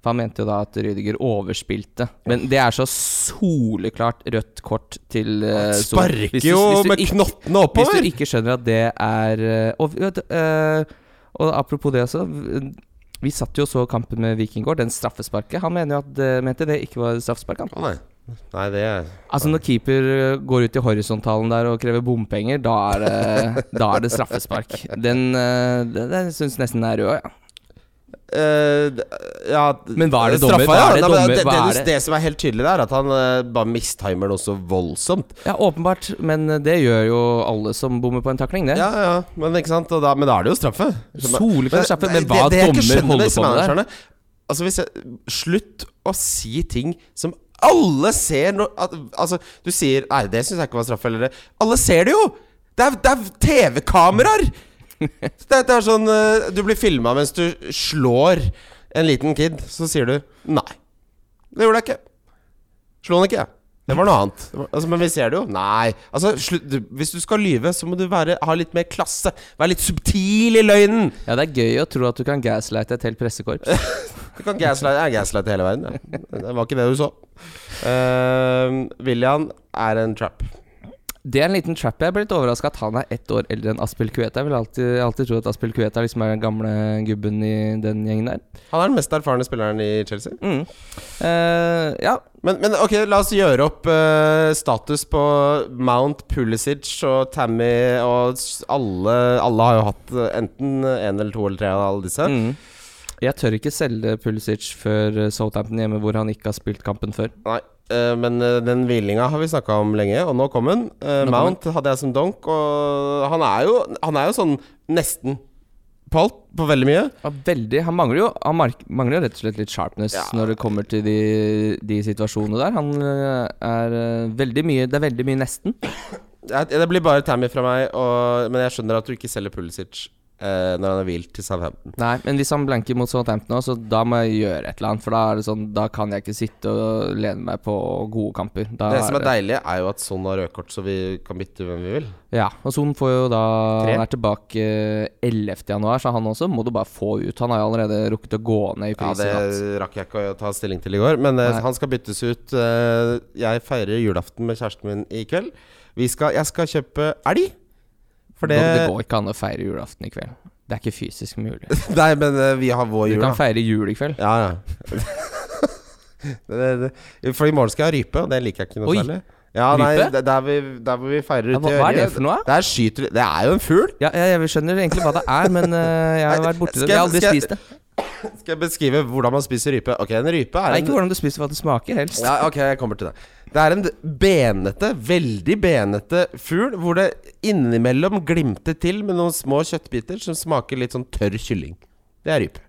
Speaker 2: For han mente jo da at Rydiger overspilte. Men det er så soleklart rødt kort til eh, Son.
Speaker 3: Han
Speaker 2: Hvis
Speaker 3: Sparker
Speaker 2: du-
Speaker 3: jo
Speaker 2: hvis du
Speaker 3: med
Speaker 2: ikke-
Speaker 3: knottene
Speaker 2: Hvis
Speaker 3: oppover!
Speaker 2: du ikke skjønner at det er eh, Og, vet du, eh, og apropos det også. v- Vi satt jo og så kampen med Viking i går, den straffesparket. Han mener jo at, eh, mente det ikke var straffespark. Han.
Speaker 3: Å nei. Nei, det er
Speaker 2: Altså Når keeper eh, går ut i horisontalen der og krever bompenger, da er det, da er det straffespark. Den, eh, det- den syns nesten er rød, ja.
Speaker 3: Eh, d- ja eh,
Speaker 2: Men hva er det
Speaker 3: straffa,
Speaker 2: dommer- hva
Speaker 3: ja.
Speaker 2: er det
Speaker 3: Nei, men
Speaker 2: dommer-
Speaker 3: det,
Speaker 2: hva
Speaker 3: det,
Speaker 2: er det?
Speaker 3: det som er helt tydelig, der, er at han eh, bare mistimer noe så voldsomt.
Speaker 2: Ja, Åpenbart, men det gjør jo alle som bommer på en takling, det.
Speaker 3: Ja, ja, men ikke sant? Og da, men da er det jo straffe.
Speaker 2: Soleklar straffe, men hva
Speaker 3: jeg ikke
Speaker 2: dommer
Speaker 3: skjønner med
Speaker 2: holder
Speaker 3: disse
Speaker 2: på med der?
Speaker 3: managerne, Altså, hvis jeg, slutt å si ting som alle ser når at, Altså, du sier Nei, det syns jeg ikke var straffe. Eller det. Alle ser det jo! Det er, det er TV-kameraer! Det, er- det er sånn eh, Du blir filma mens du slår en liten kid, så sier du Nei, det gjorde jeg ikke. Slo han ikke, jeg. Det var noe annet. Det var, altså, men vi ser det jo. Nei. Altså, slutt, du, hvis du skal lyve, så må du være, ha litt mer klasse. Være litt subtil i løgnen!
Speaker 2: Ja, det er gøy å tro at du kan gaslighte et helt pressekorps.
Speaker 3: Du kan gaslighte, jeg gaslighter hele verden. jeg. Det var ikke det du så. Ehm, William er en trap.
Speaker 2: Det er en liten trap. Jeg ble litt overraska at han er ett år eldre enn Aspel Kueta. Jeg vil alltid, alltid tro at Aspel Kueta liksom er den gamle gubben i den gjengen der.
Speaker 3: Han er den mest erfarne spilleren i Chelsea.
Speaker 2: Mm. Eh, ja,
Speaker 3: Men, men ok, la oss gjøre opp eh, status på Mount Pulisic og Tammy og s- alle Alle har jo hatt eh, enten én eller to eller tre av alle disse.
Speaker 2: Mm. Jeg tør ikke selge Pulisic før eh, Southampton hjemme, hvor han ikke har spilt kampen før.
Speaker 3: Nei, eh, men eh, den hvilinga har vi snakka om lenge, og nå kom den. Eh,
Speaker 2: Nå kom
Speaker 3: Mount hadde jeg som donk, og han er jo, han er jo sånn nesten på alt, på veldig mye.
Speaker 2: Og veldig, han mangler jo Han mark- mangler jo rett og slett litt sharpness
Speaker 3: Ja.
Speaker 2: når det kommer til de, de situasjonene der. Han eh, er eh, veldig mye Det er veldig mye nesten.
Speaker 3: Jeg- Det blir bare Tammy fra meg, og, men jeg skjønner at du ikke selger Pulisic eh, når han er hvilt til Southampton.
Speaker 2: Nei, men hvis han blanker mot Southampton også, så da må jeg gjøre et eller annet. For da er det sånn Da kan jeg ikke sitte og lene meg på gode kamper. Da
Speaker 3: Det som er deilig, er jo at sånn har rødkort, så vi kan bytte hvem vi vil.
Speaker 2: Ja, og Son får jo da
Speaker 3: Tre.
Speaker 2: Han er tilbake 11. januar, så han også må du bare få ut. Han har jo allerede rukket å gå ned i
Speaker 3: Ja,
Speaker 2: pris.
Speaker 3: det rakk jeg ikke å ta stilling til i går, men eh,
Speaker 2: Nei.
Speaker 3: han skal byttes ut. eh, jeg feirer julaften med kjæresten min i kveld. Vi skal, jeg skal kjøpe elg. For
Speaker 2: det...
Speaker 3: det,
Speaker 2: det går ikke an å feire julaften i kveld. Det er ikke fysisk mulig.
Speaker 3: Nei, men eh, vi har vår
Speaker 2: Du
Speaker 3: jul,
Speaker 2: kan
Speaker 3: da.
Speaker 2: feire jul i kveld.
Speaker 3: Ja, ja. det, det, det. For i morgen skal jeg ha rype, og det liker jeg ikke noe
Speaker 2: Oi.
Speaker 3: særlig. Ja,
Speaker 2: Rype?
Speaker 3: nei, det- der, vi, der hvor vi feirer
Speaker 2: Ja,
Speaker 3: ute
Speaker 2: hva,
Speaker 3: i
Speaker 2: hva er det
Speaker 3: Ørje,
Speaker 2: for noe? da?
Speaker 3: Der skyter Det er jo en fugl!
Speaker 2: Ja, jeg, jeg skjønner egentlig hva det er, men eh, jeg har
Speaker 3: Nei,
Speaker 2: vært borti det.
Speaker 3: skal
Speaker 2: Jeg har
Speaker 3: jeg-
Speaker 2: aldri
Speaker 3: skal jeg-
Speaker 2: spist det.
Speaker 3: Skal jeg beskrive hvordan man spiser rype? Ok, en rype er
Speaker 2: Nei,
Speaker 3: en
Speaker 2: ikke hvordan du spiser, hva det smaker, helst.
Speaker 3: Ja, ok, jeg kommer til det. Det er en benete, veldig benete fugl hvor det innimellom glimter til med noen små kjøttbiter som smaker litt sånn tørr kylling. Det er rype.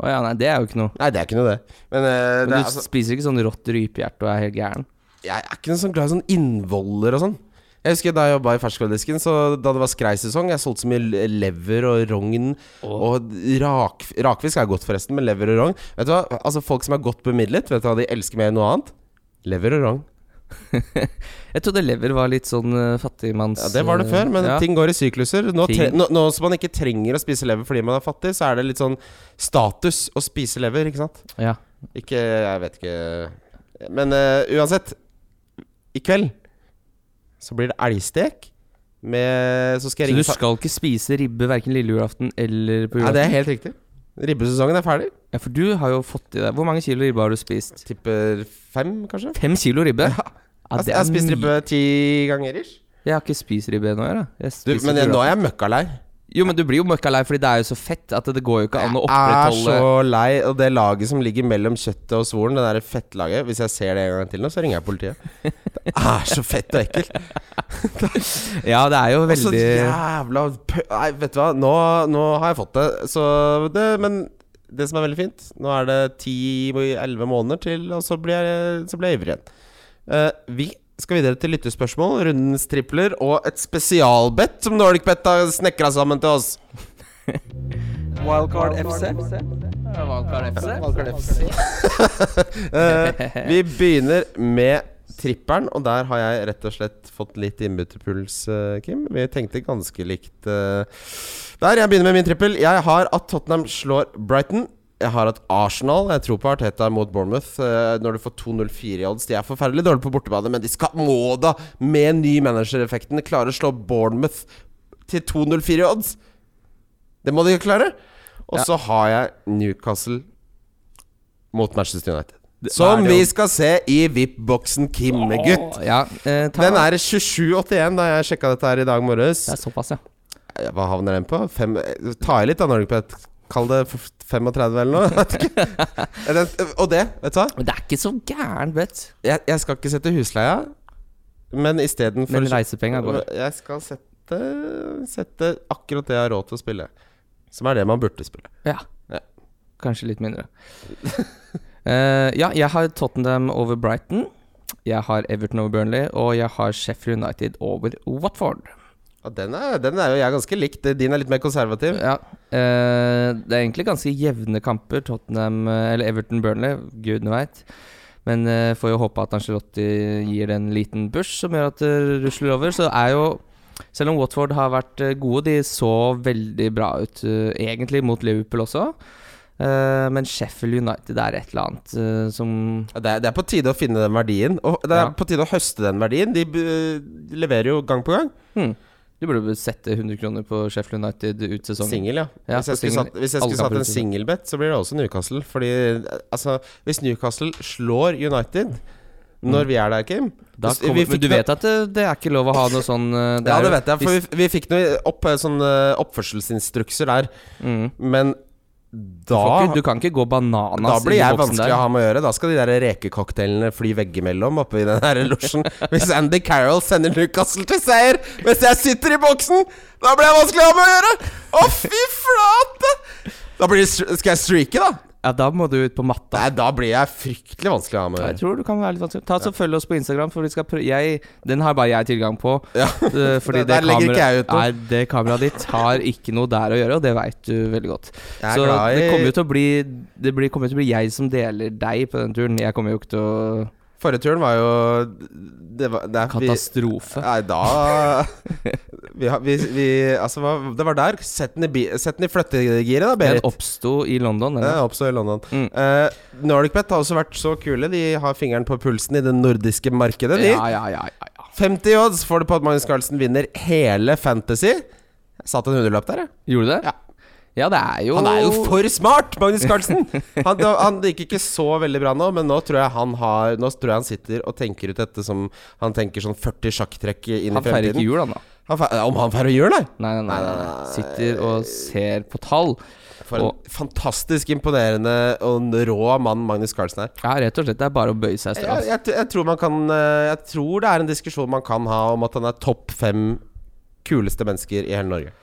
Speaker 2: Å ja, nei, det er jo ikke noe.
Speaker 3: Nei, det er ikke noe, det. Men, eh,
Speaker 2: Men
Speaker 3: det
Speaker 2: du
Speaker 3: er, altså,
Speaker 2: spiser ikke sånn rått rypehjerte og er helt gæren.
Speaker 3: jeg er ikke noe sånn glad i sånn innvoller og sånn. Jeg husker Da jeg jobba i ferskvaredisken, så da det var skreisesong Jeg solgte så mye le- lever og rogn og rak, Rakfisk er godt, forresten, men lever og rogn Vet du hva, altså Folk som er godt bemidlet, vet du hva de elsker mer enn noe annet? Lever og rogn.
Speaker 2: Jeg trodde lever var litt sånn eh, fattigmanns...
Speaker 3: Ja, Det var
Speaker 2: eh,
Speaker 3: det før, men
Speaker 2: ja.
Speaker 3: ting går i sykluser. Nå,
Speaker 2: Ting-
Speaker 3: tre, nå, nå som man ikke trenger å spise lever fordi man er fattig, så er det litt sånn status å spise lever, ikke sant?
Speaker 2: Ja.
Speaker 3: Ikke Jeg vet ikke Men eh, uansett, i kveld så blir det elgstek med Så skal
Speaker 2: Så
Speaker 3: jeg
Speaker 2: du
Speaker 3: ringe fa-
Speaker 2: skal ikke spise ribbe verken lille julaften eller på
Speaker 3: Ja, det
Speaker 2: julaften?
Speaker 3: er helt riktig. Ribbesesongen er ferdig.
Speaker 2: Ja, for du har jo fått i deg Hvor mange kilo ribbe har du spist?
Speaker 3: Tipper fem, kanskje? Altså,
Speaker 2: Fem kilo ribbe? Ja,
Speaker 3: jeg
Speaker 2: det
Speaker 3: jeg har
Speaker 2: er
Speaker 3: spist
Speaker 2: mye.
Speaker 3: ribbe ti ganger ish.
Speaker 2: Jeg har ikke spist ribbe ennå, jeg. da. Jeg
Speaker 3: Du,
Speaker 2: spiser
Speaker 3: men
Speaker 2: på
Speaker 3: jeg, nå
Speaker 2: julaften.
Speaker 3: er jeg møkkalei.
Speaker 2: Jo, men du blir jo møkka lei, fordi det er jo så fett at det går jo ikke an å opprettholde
Speaker 3: Jeg er så lei, og det laget som ligger mellom kjøttet og svoren, det der fettlaget Hvis jeg ser det en gang til nå, så ringer jeg politiet. Det er så fett og ekkelt.
Speaker 2: Ja, det er jo
Speaker 3: Og så
Speaker 2: veldig
Speaker 3: Altså, jævla pø Nei, vet du hva, nå, nå har jeg fått det. Så det Men det som er veldig fint, nå er det ti-elleve måneder til, og så blir jeg, så blir jeg ivrig igjen. Eh, vi skal videre til lyttespørsmål, rundens tripler og et spesialbett som Nordic Bet har snekra sammen til oss.
Speaker 1: Wildcard FC.
Speaker 3: Eh, vi begynner med tripperen, og der har jeg rett og slett fått litt innbytterpuls, eh, Kim. Vi tenkte ganske likt eh, der. Jeg begynner med min trippel. Jeg har at Tottenham slår Brighton. Jeg har at Arsenal Jeg tror på Arteta mot Bournemouth. eh, når du får 2-0-4 i odds De er forferdelig dårlige på bortebane, men de skal må da, med ny managereffekten, klare å slå Bournemouth til 2-0-4 i odds! Det må de klare! Og
Speaker 2: Ja.
Speaker 3: så har jeg Newcastle mot Manchester United. Som vi skal se i VIP-boksen, Kimmegutt.
Speaker 2: Ja, eh, ta,
Speaker 3: Den er 27,81 da jeg sjekka dette her i dag morges.
Speaker 2: Det er såpass, ja.
Speaker 3: Eh, Hva havner den på? Fem, eh, ta i litt da, Norgepet. Kall det f- 35 eller noe. Vet ikke. Eh, den- Og det, vet du hva?
Speaker 2: Men det er ikke så gæren bøtt.
Speaker 3: Jeg, jeg skal ikke sette husleia, men istedenfor
Speaker 2: Men reisepenga går.
Speaker 3: Jeg skal sette, sette akkurat det jeg har råd til å spille. Som er det man burde spille.
Speaker 2: Ja.
Speaker 3: Ja.
Speaker 2: Kanskje litt mindre. Eh, ja, jeg har Tottenham over Brighton. Jeg har Everton over Burnley, og jeg har Sheffield United over Watford.
Speaker 3: Ja, den, er, den er jo jeg ganske likt. Din er litt mer konservativ.
Speaker 2: Ja, eh, Det er egentlig ganske jevne kamper, Tottenham eh, eller Everton-Burnley, gudene veit. Men eh, får jo håpe at Angelotti gir det en liten push som gjør at det rusler over. Så er jo Selv om Watford har vært eh, gode, de så veldig bra ut eh, egentlig mot Liverpool også. Eh, men Sheffield United det er et eller annet eh, som
Speaker 3: Ja, Det er, det er på tide å finne den verdien. Og det er
Speaker 2: Ja.
Speaker 3: på tide å høste den verdien. De b- leverer jo gang på gang.
Speaker 2: hm, Du burde vel sette 100 kroner på Sheffield United ut sesongen.
Speaker 3: Singel, ja.
Speaker 2: Ja,
Speaker 3: Hvis jeg
Speaker 2: på
Speaker 3: skulle
Speaker 2: singel.
Speaker 3: satt, hvis jeg
Speaker 2: Alle
Speaker 3: skulle satt
Speaker 2: kamper
Speaker 3: en
Speaker 2: ute.
Speaker 3: singelbett, så blir det også Newcastle. Fordi eh, altså Hvis Newcastle slår United når vi er der, Kim
Speaker 2: Mm. Da
Speaker 3: hvis-
Speaker 2: kommer,
Speaker 3: vi
Speaker 2: men
Speaker 3: fikk
Speaker 2: du
Speaker 3: det-
Speaker 2: vet at det, det er ikke lov å ha noe sånn eh,
Speaker 3: Ja,
Speaker 2: er
Speaker 3: det
Speaker 2: jo-
Speaker 3: vet jeg. For vi, vi fikk noen opp, eh, sånne oppførselsinstrukser der.
Speaker 2: mm.
Speaker 3: Men
Speaker 2: Du får
Speaker 3: da
Speaker 2: ikke, du kan ikke gå bananas
Speaker 3: da
Speaker 2: i
Speaker 3: blir jeg
Speaker 2: boksen
Speaker 3: vanskelig
Speaker 2: der.
Speaker 3: å ha med å gjøre. Da skal de der rekecocktailene fly veggimellom oppe i den her losjen. Hvis Andy Carroll sender Newcastle til seier mens jeg sitter i boksen, da blir jeg vanskelig å ha med å gjøre! Å, fy flate! Da blir det, str- skal jeg streake, da?
Speaker 2: Ja, da må du ut på matta.
Speaker 3: Nei, da blir jeg fryktelig vanskelig å ha med å
Speaker 2: Jeg
Speaker 3: gjøre.
Speaker 2: tror du kan være litt vanskelig. Ta så Følg oss på Instagram, for vi skal prøve jeg, den har bare jeg tilgang på.
Speaker 3: Ja.
Speaker 2: Eh, Fordi det,
Speaker 3: Der- der legger ikke jeg ut noe.
Speaker 2: Nei, det kameraet ditt har ikke noe der å gjøre, og det veit du veldig godt.
Speaker 3: Jeg er
Speaker 2: så
Speaker 3: glad i-
Speaker 2: det kommer jo til å bli Det blir, kommer jo til å bli jeg som deler deg på den turen. Jeg kommer jo ikke til å
Speaker 3: Forrige turen var jo Det var det er- vi-
Speaker 2: Katastrofe.
Speaker 3: Nei, da vi, har- vi, vi, altså, hva- Det var der. Sett den i, bi- sett den i flyttegiret, da,
Speaker 2: Den
Speaker 3: Berit.
Speaker 2: oppsto i London.
Speaker 3: Det
Speaker 2: Den.
Speaker 3: er oppstå i London.
Speaker 2: Mm.
Speaker 3: Eh, NordicBet har også vært så kule. De har fingeren på pulsen i det nordiske markedet. De.
Speaker 2: Ja, ja, ja, ja, ja.
Speaker 3: 50 odds får du på at Magnus Carlsen vinner hele Fantasy. Jeg Satt en hundrelapp der, jeg.
Speaker 2: Gjorde du det?
Speaker 3: Ja.
Speaker 2: ja, det er jo
Speaker 3: Han er jo for smart, Magnus Carlsen! Han, han det gikk ikke så veldig bra nå, men nå tror jeg han har Nå tror jeg han sitter og tenker ut dette som Han tenker sånn 40 sjakktrekk inn
Speaker 2: Han feirer
Speaker 3: i
Speaker 2: ikke
Speaker 3: fremtiden.
Speaker 2: jul, han da.
Speaker 3: Han feirer- om han feirer jul, nei!
Speaker 2: Nei, nei, nei, nei, nei. Sitter og ser på tall.
Speaker 3: For
Speaker 2: Og-
Speaker 3: en fantastisk imponerende og en rå mann Magnus Carlsen er.
Speaker 2: Ja, rett og slett. Det er bare å bøye seg i
Speaker 3: Jeg,
Speaker 2: støv.
Speaker 3: jeg, jeg, tror man kan, eh, jeg tror det er en diskusjon man kan ha om at han er topp fem kuleste mennesker i hele Norge.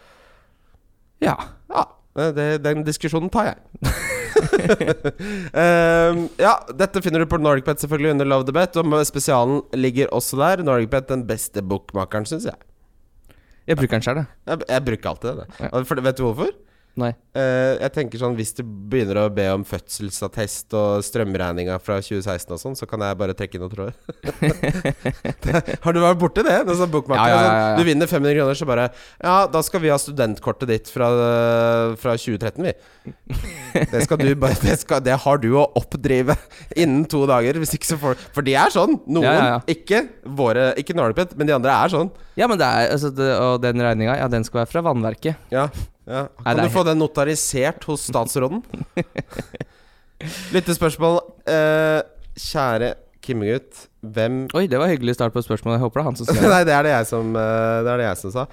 Speaker 2: Ja.
Speaker 3: Ja, eh, det, den diskusjonen tar jeg. Ehm, ja, dette finner du på NordicBet, selvfølgelig, under Love the Bet. Og spesialen ligger også der. NordicBet, den beste bookmakeren, syns jeg.
Speaker 2: Jeg bruker den sjøl, jeg.
Speaker 3: jeg. Jeg bruker alltid det.
Speaker 2: Ja.
Speaker 3: Og For, vet du hvorfor?
Speaker 2: Nei.
Speaker 3: Eh, jeg tenker sånn Hvis du begynner å be om fødselsattest og strømregninga fra 2016 og sånn, så kan jeg bare trekke inn noen tråder. Det- har du vært borti det? Det er sånn bookmaker,
Speaker 2: Ja, ja, ja, ja.
Speaker 3: Sånn, du vinner 500 kroner, så bare Ja, da skal vi ha studentkortet ditt fra, fra 2013, vi. Det skal du bare det, skal, det har du å oppdrive innen to dager. Hvis ikke så får For de er sånn. Noen.
Speaker 2: Ja, ja, ja.
Speaker 3: Ikke våre Ikke Narlepet, men de andre er sånn.
Speaker 2: Ja, men det er altså det, Og den regninga, ja, den skal være fra vannverket.
Speaker 3: Ja, ja.
Speaker 2: Nei,
Speaker 3: Kan
Speaker 2: det er
Speaker 3: du få den notarisert hos statsråden? Lyttespørsmål. Eh, kjære Kimmegutt, hvem
Speaker 2: Oi, det var hyggelig start på spørsmålet. Jeg håper det er han som skrev det.
Speaker 3: Nei, det er det, jeg som, eh, det er det jeg som sa.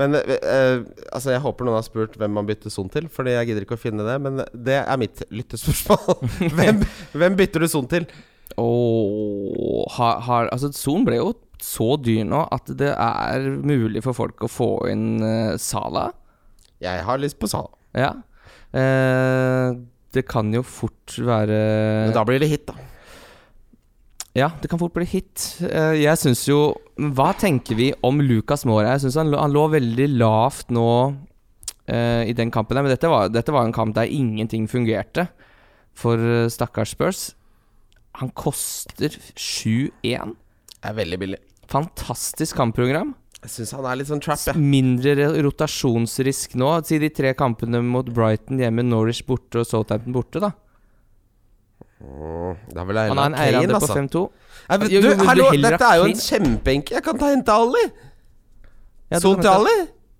Speaker 3: Men eh, eh, altså, jeg håper noen har spurt hvem man bytter son til, Fordi jeg gidder ikke å finne det. Men det er mitt lyttespørsmål. hvem, hvem bytter du son til?
Speaker 2: Åh, har, har, altså, Son ble jo så dyr nå at det er mulig for folk å få inn eh, Sala.
Speaker 3: Jeg har lyst på Sala.
Speaker 2: Ja. Eh, det kan jo fort være
Speaker 3: Men da blir det hit, da.
Speaker 2: Ja, det kan fort bli hit. Eh, Jeg syns jo Hva tenker vi om Lucas Moura? Jeg syns han, lå- han lå veldig lavt nå eh, i den kampen der, men dette var, dette var en kamp der ingenting fungerte for eh, stakkars Spurs. Han koster 7-1.
Speaker 3: Det er veldig billig.
Speaker 2: Fantastisk kampprogram.
Speaker 3: Jeg syns han er litt sånn trap, jeg.
Speaker 2: Mindre re- rotasjonsrisk nå. Si de tre kampene mot Brighton hjemme, Norwich borte og Southampton borte, da.
Speaker 3: Mm, Da vil jeg
Speaker 2: Han har en
Speaker 3: heller ha Kane,
Speaker 2: eierandel på
Speaker 3: altså.
Speaker 2: 5-2.
Speaker 3: Nei, men
Speaker 2: Jo,
Speaker 3: du,
Speaker 2: jo, men
Speaker 3: hallo,
Speaker 2: du heller
Speaker 3: dette
Speaker 2: ha
Speaker 3: er jo en
Speaker 2: Kane.
Speaker 3: kjempeenkel Jeg kan ta hente Ali!
Speaker 2: Ja, du
Speaker 3: Son
Speaker 2: kan
Speaker 3: til
Speaker 2: ta-
Speaker 3: Ali?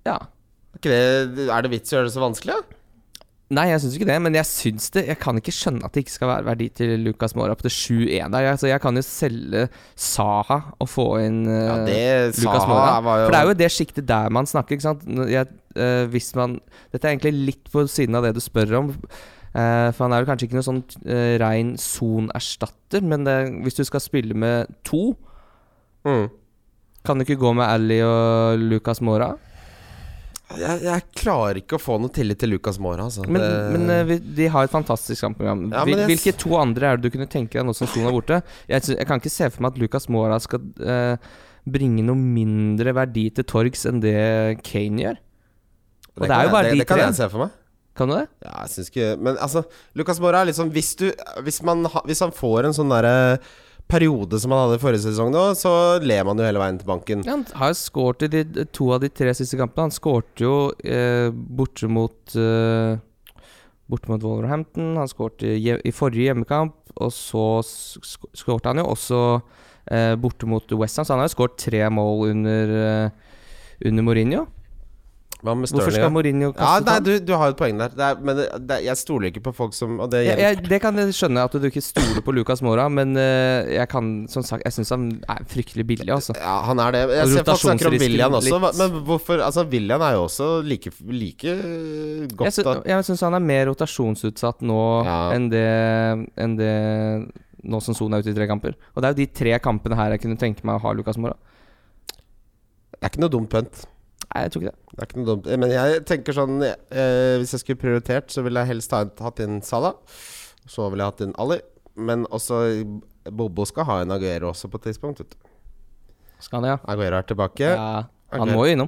Speaker 2: Ja.
Speaker 3: Er ikke det- Er det vits i å gjøre det så vanskelig? da?
Speaker 2: Nei, jeg syns ikke det, men jeg syns det. Jeg kan ikke skjønne at det ikke skal være verdi til Lucas Mora på det 7-1 der. Altså, jeg kan jo selge Saha og få inn eh,
Speaker 3: Ja, det
Speaker 2: Lucas Moura.
Speaker 3: Saha var jo
Speaker 2: For det er jo det sjiktet der man snakker, ikke sant. Når Jeg, eh, hvis man Dette er egentlig litt på siden av det du spør om. eh, for han er jo kanskje ikke noen sånn eh, rein sonerstatter, men det, hvis du skal spille med to,
Speaker 3: mm.
Speaker 2: kan du ikke gå med Ali og Lucas Mora?
Speaker 3: jeg, jeg klarer ikke å få noe tillit til Lucas Mora, altså.
Speaker 2: Men,
Speaker 3: Det-
Speaker 2: men eh, vi- de har et fantastisk kampprogram.
Speaker 3: Ja,
Speaker 2: Hvil-
Speaker 3: men jeg-
Speaker 2: Hvilke to andre er det du kunne tenke deg nå som Son er borte? Jeg, sy- jeg kan ikke se for meg at Lucas Mora skal eh, bringe noe mindre verdi til torgs enn det Kane gjør. og det
Speaker 3: kan
Speaker 2: er jo
Speaker 3: jeg-
Speaker 2: bare
Speaker 3: det,
Speaker 2: de
Speaker 3: det kan
Speaker 2: tre.
Speaker 3: jeg se for meg.
Speaker 2: Kan du det?
Speaker 3: Ja, jeg syns ikke Men altså, Lucas Mora er litt sånn Hvis, du, hvis, man, ha- hvis han får en sånn derre periode som han hadde i forrige sesong nå, så ler man jo hele veien til banken.
Speaker 2: Ja, han har jo skåret i de, to av de tre siste kampene. Han skårte jo eh, borte mot eh, Borte mot Wolverhampton. Han skårte i, hje- i forrige hjemmekamp, og så sk- sk- skårte han jo også eh, borte mot Westham. Så han har jo skåret tre mål under, eh, under Mourinho.
Speaker 3: Hva med
Speaker 2: Hvorfor skal
Speaker 3: Stirling? da?
Speaker 2: Mourinho
Speaker 3: Ja,
Speaker 2: kaste
Speaker 3: nei,
Speaker 2: sånn?
Speaker 3: du, du har jo et poeng der. Det er, men det, det, jeg stoler ikke på folk som Og det
Speaker 2: Jeg,
Speaker 3: gjelder
Speaker 2: jeg, det kan jeg skjønne, at du ikke stoler på Lucas Mora, men eh, jeg kan som sagt Jeg syns han er fryktelig billig, altså.
Speaker 3: Ja, han er det. Jeg
Speaker 2: Og
Speaker 3: ser folk snakker om
Speaker 2: rotasjonsrisken
Speaker 3: William også,
Speaker 2: litt.
Speaker 3: hva- men hvorfor Altså, William er jo også like, like øh,
Speaker 2: Jeg
Speaker 3: godt
Speaker 2: sy-
Speaker 3: at
Speaker 2: jeg syns han er mer rotasjonsutsatt nå
Speaker 3: Ja.
Speaker 2: enn det, enn det nå som Son er ute i tre kamper. Og det er jo de tre kampene her jeg kunne tenke meg å ha Lucas Mora.
Speaker 3: Det er ikke noe dumt pønt.
Speaker 2: Nei, jeg tror ikke det.
Speaker 3: Det er ikke noe dumt Men jeg tenker sånn eh, Hvis jeg skulle prioritert, så ville jeg helst ha hatt inn Salah. Så ville jeg hatt inn Ali. Men også Bobo skal ha en Aguero også på et tidspunkt. Vet du.
Speaker 2: Skal han det, ja?
Speaker 3: Aguero er tilbake.
Speaker 2: ja. Han
Speaker 3: Ok.
Speaker 2: må jo innom.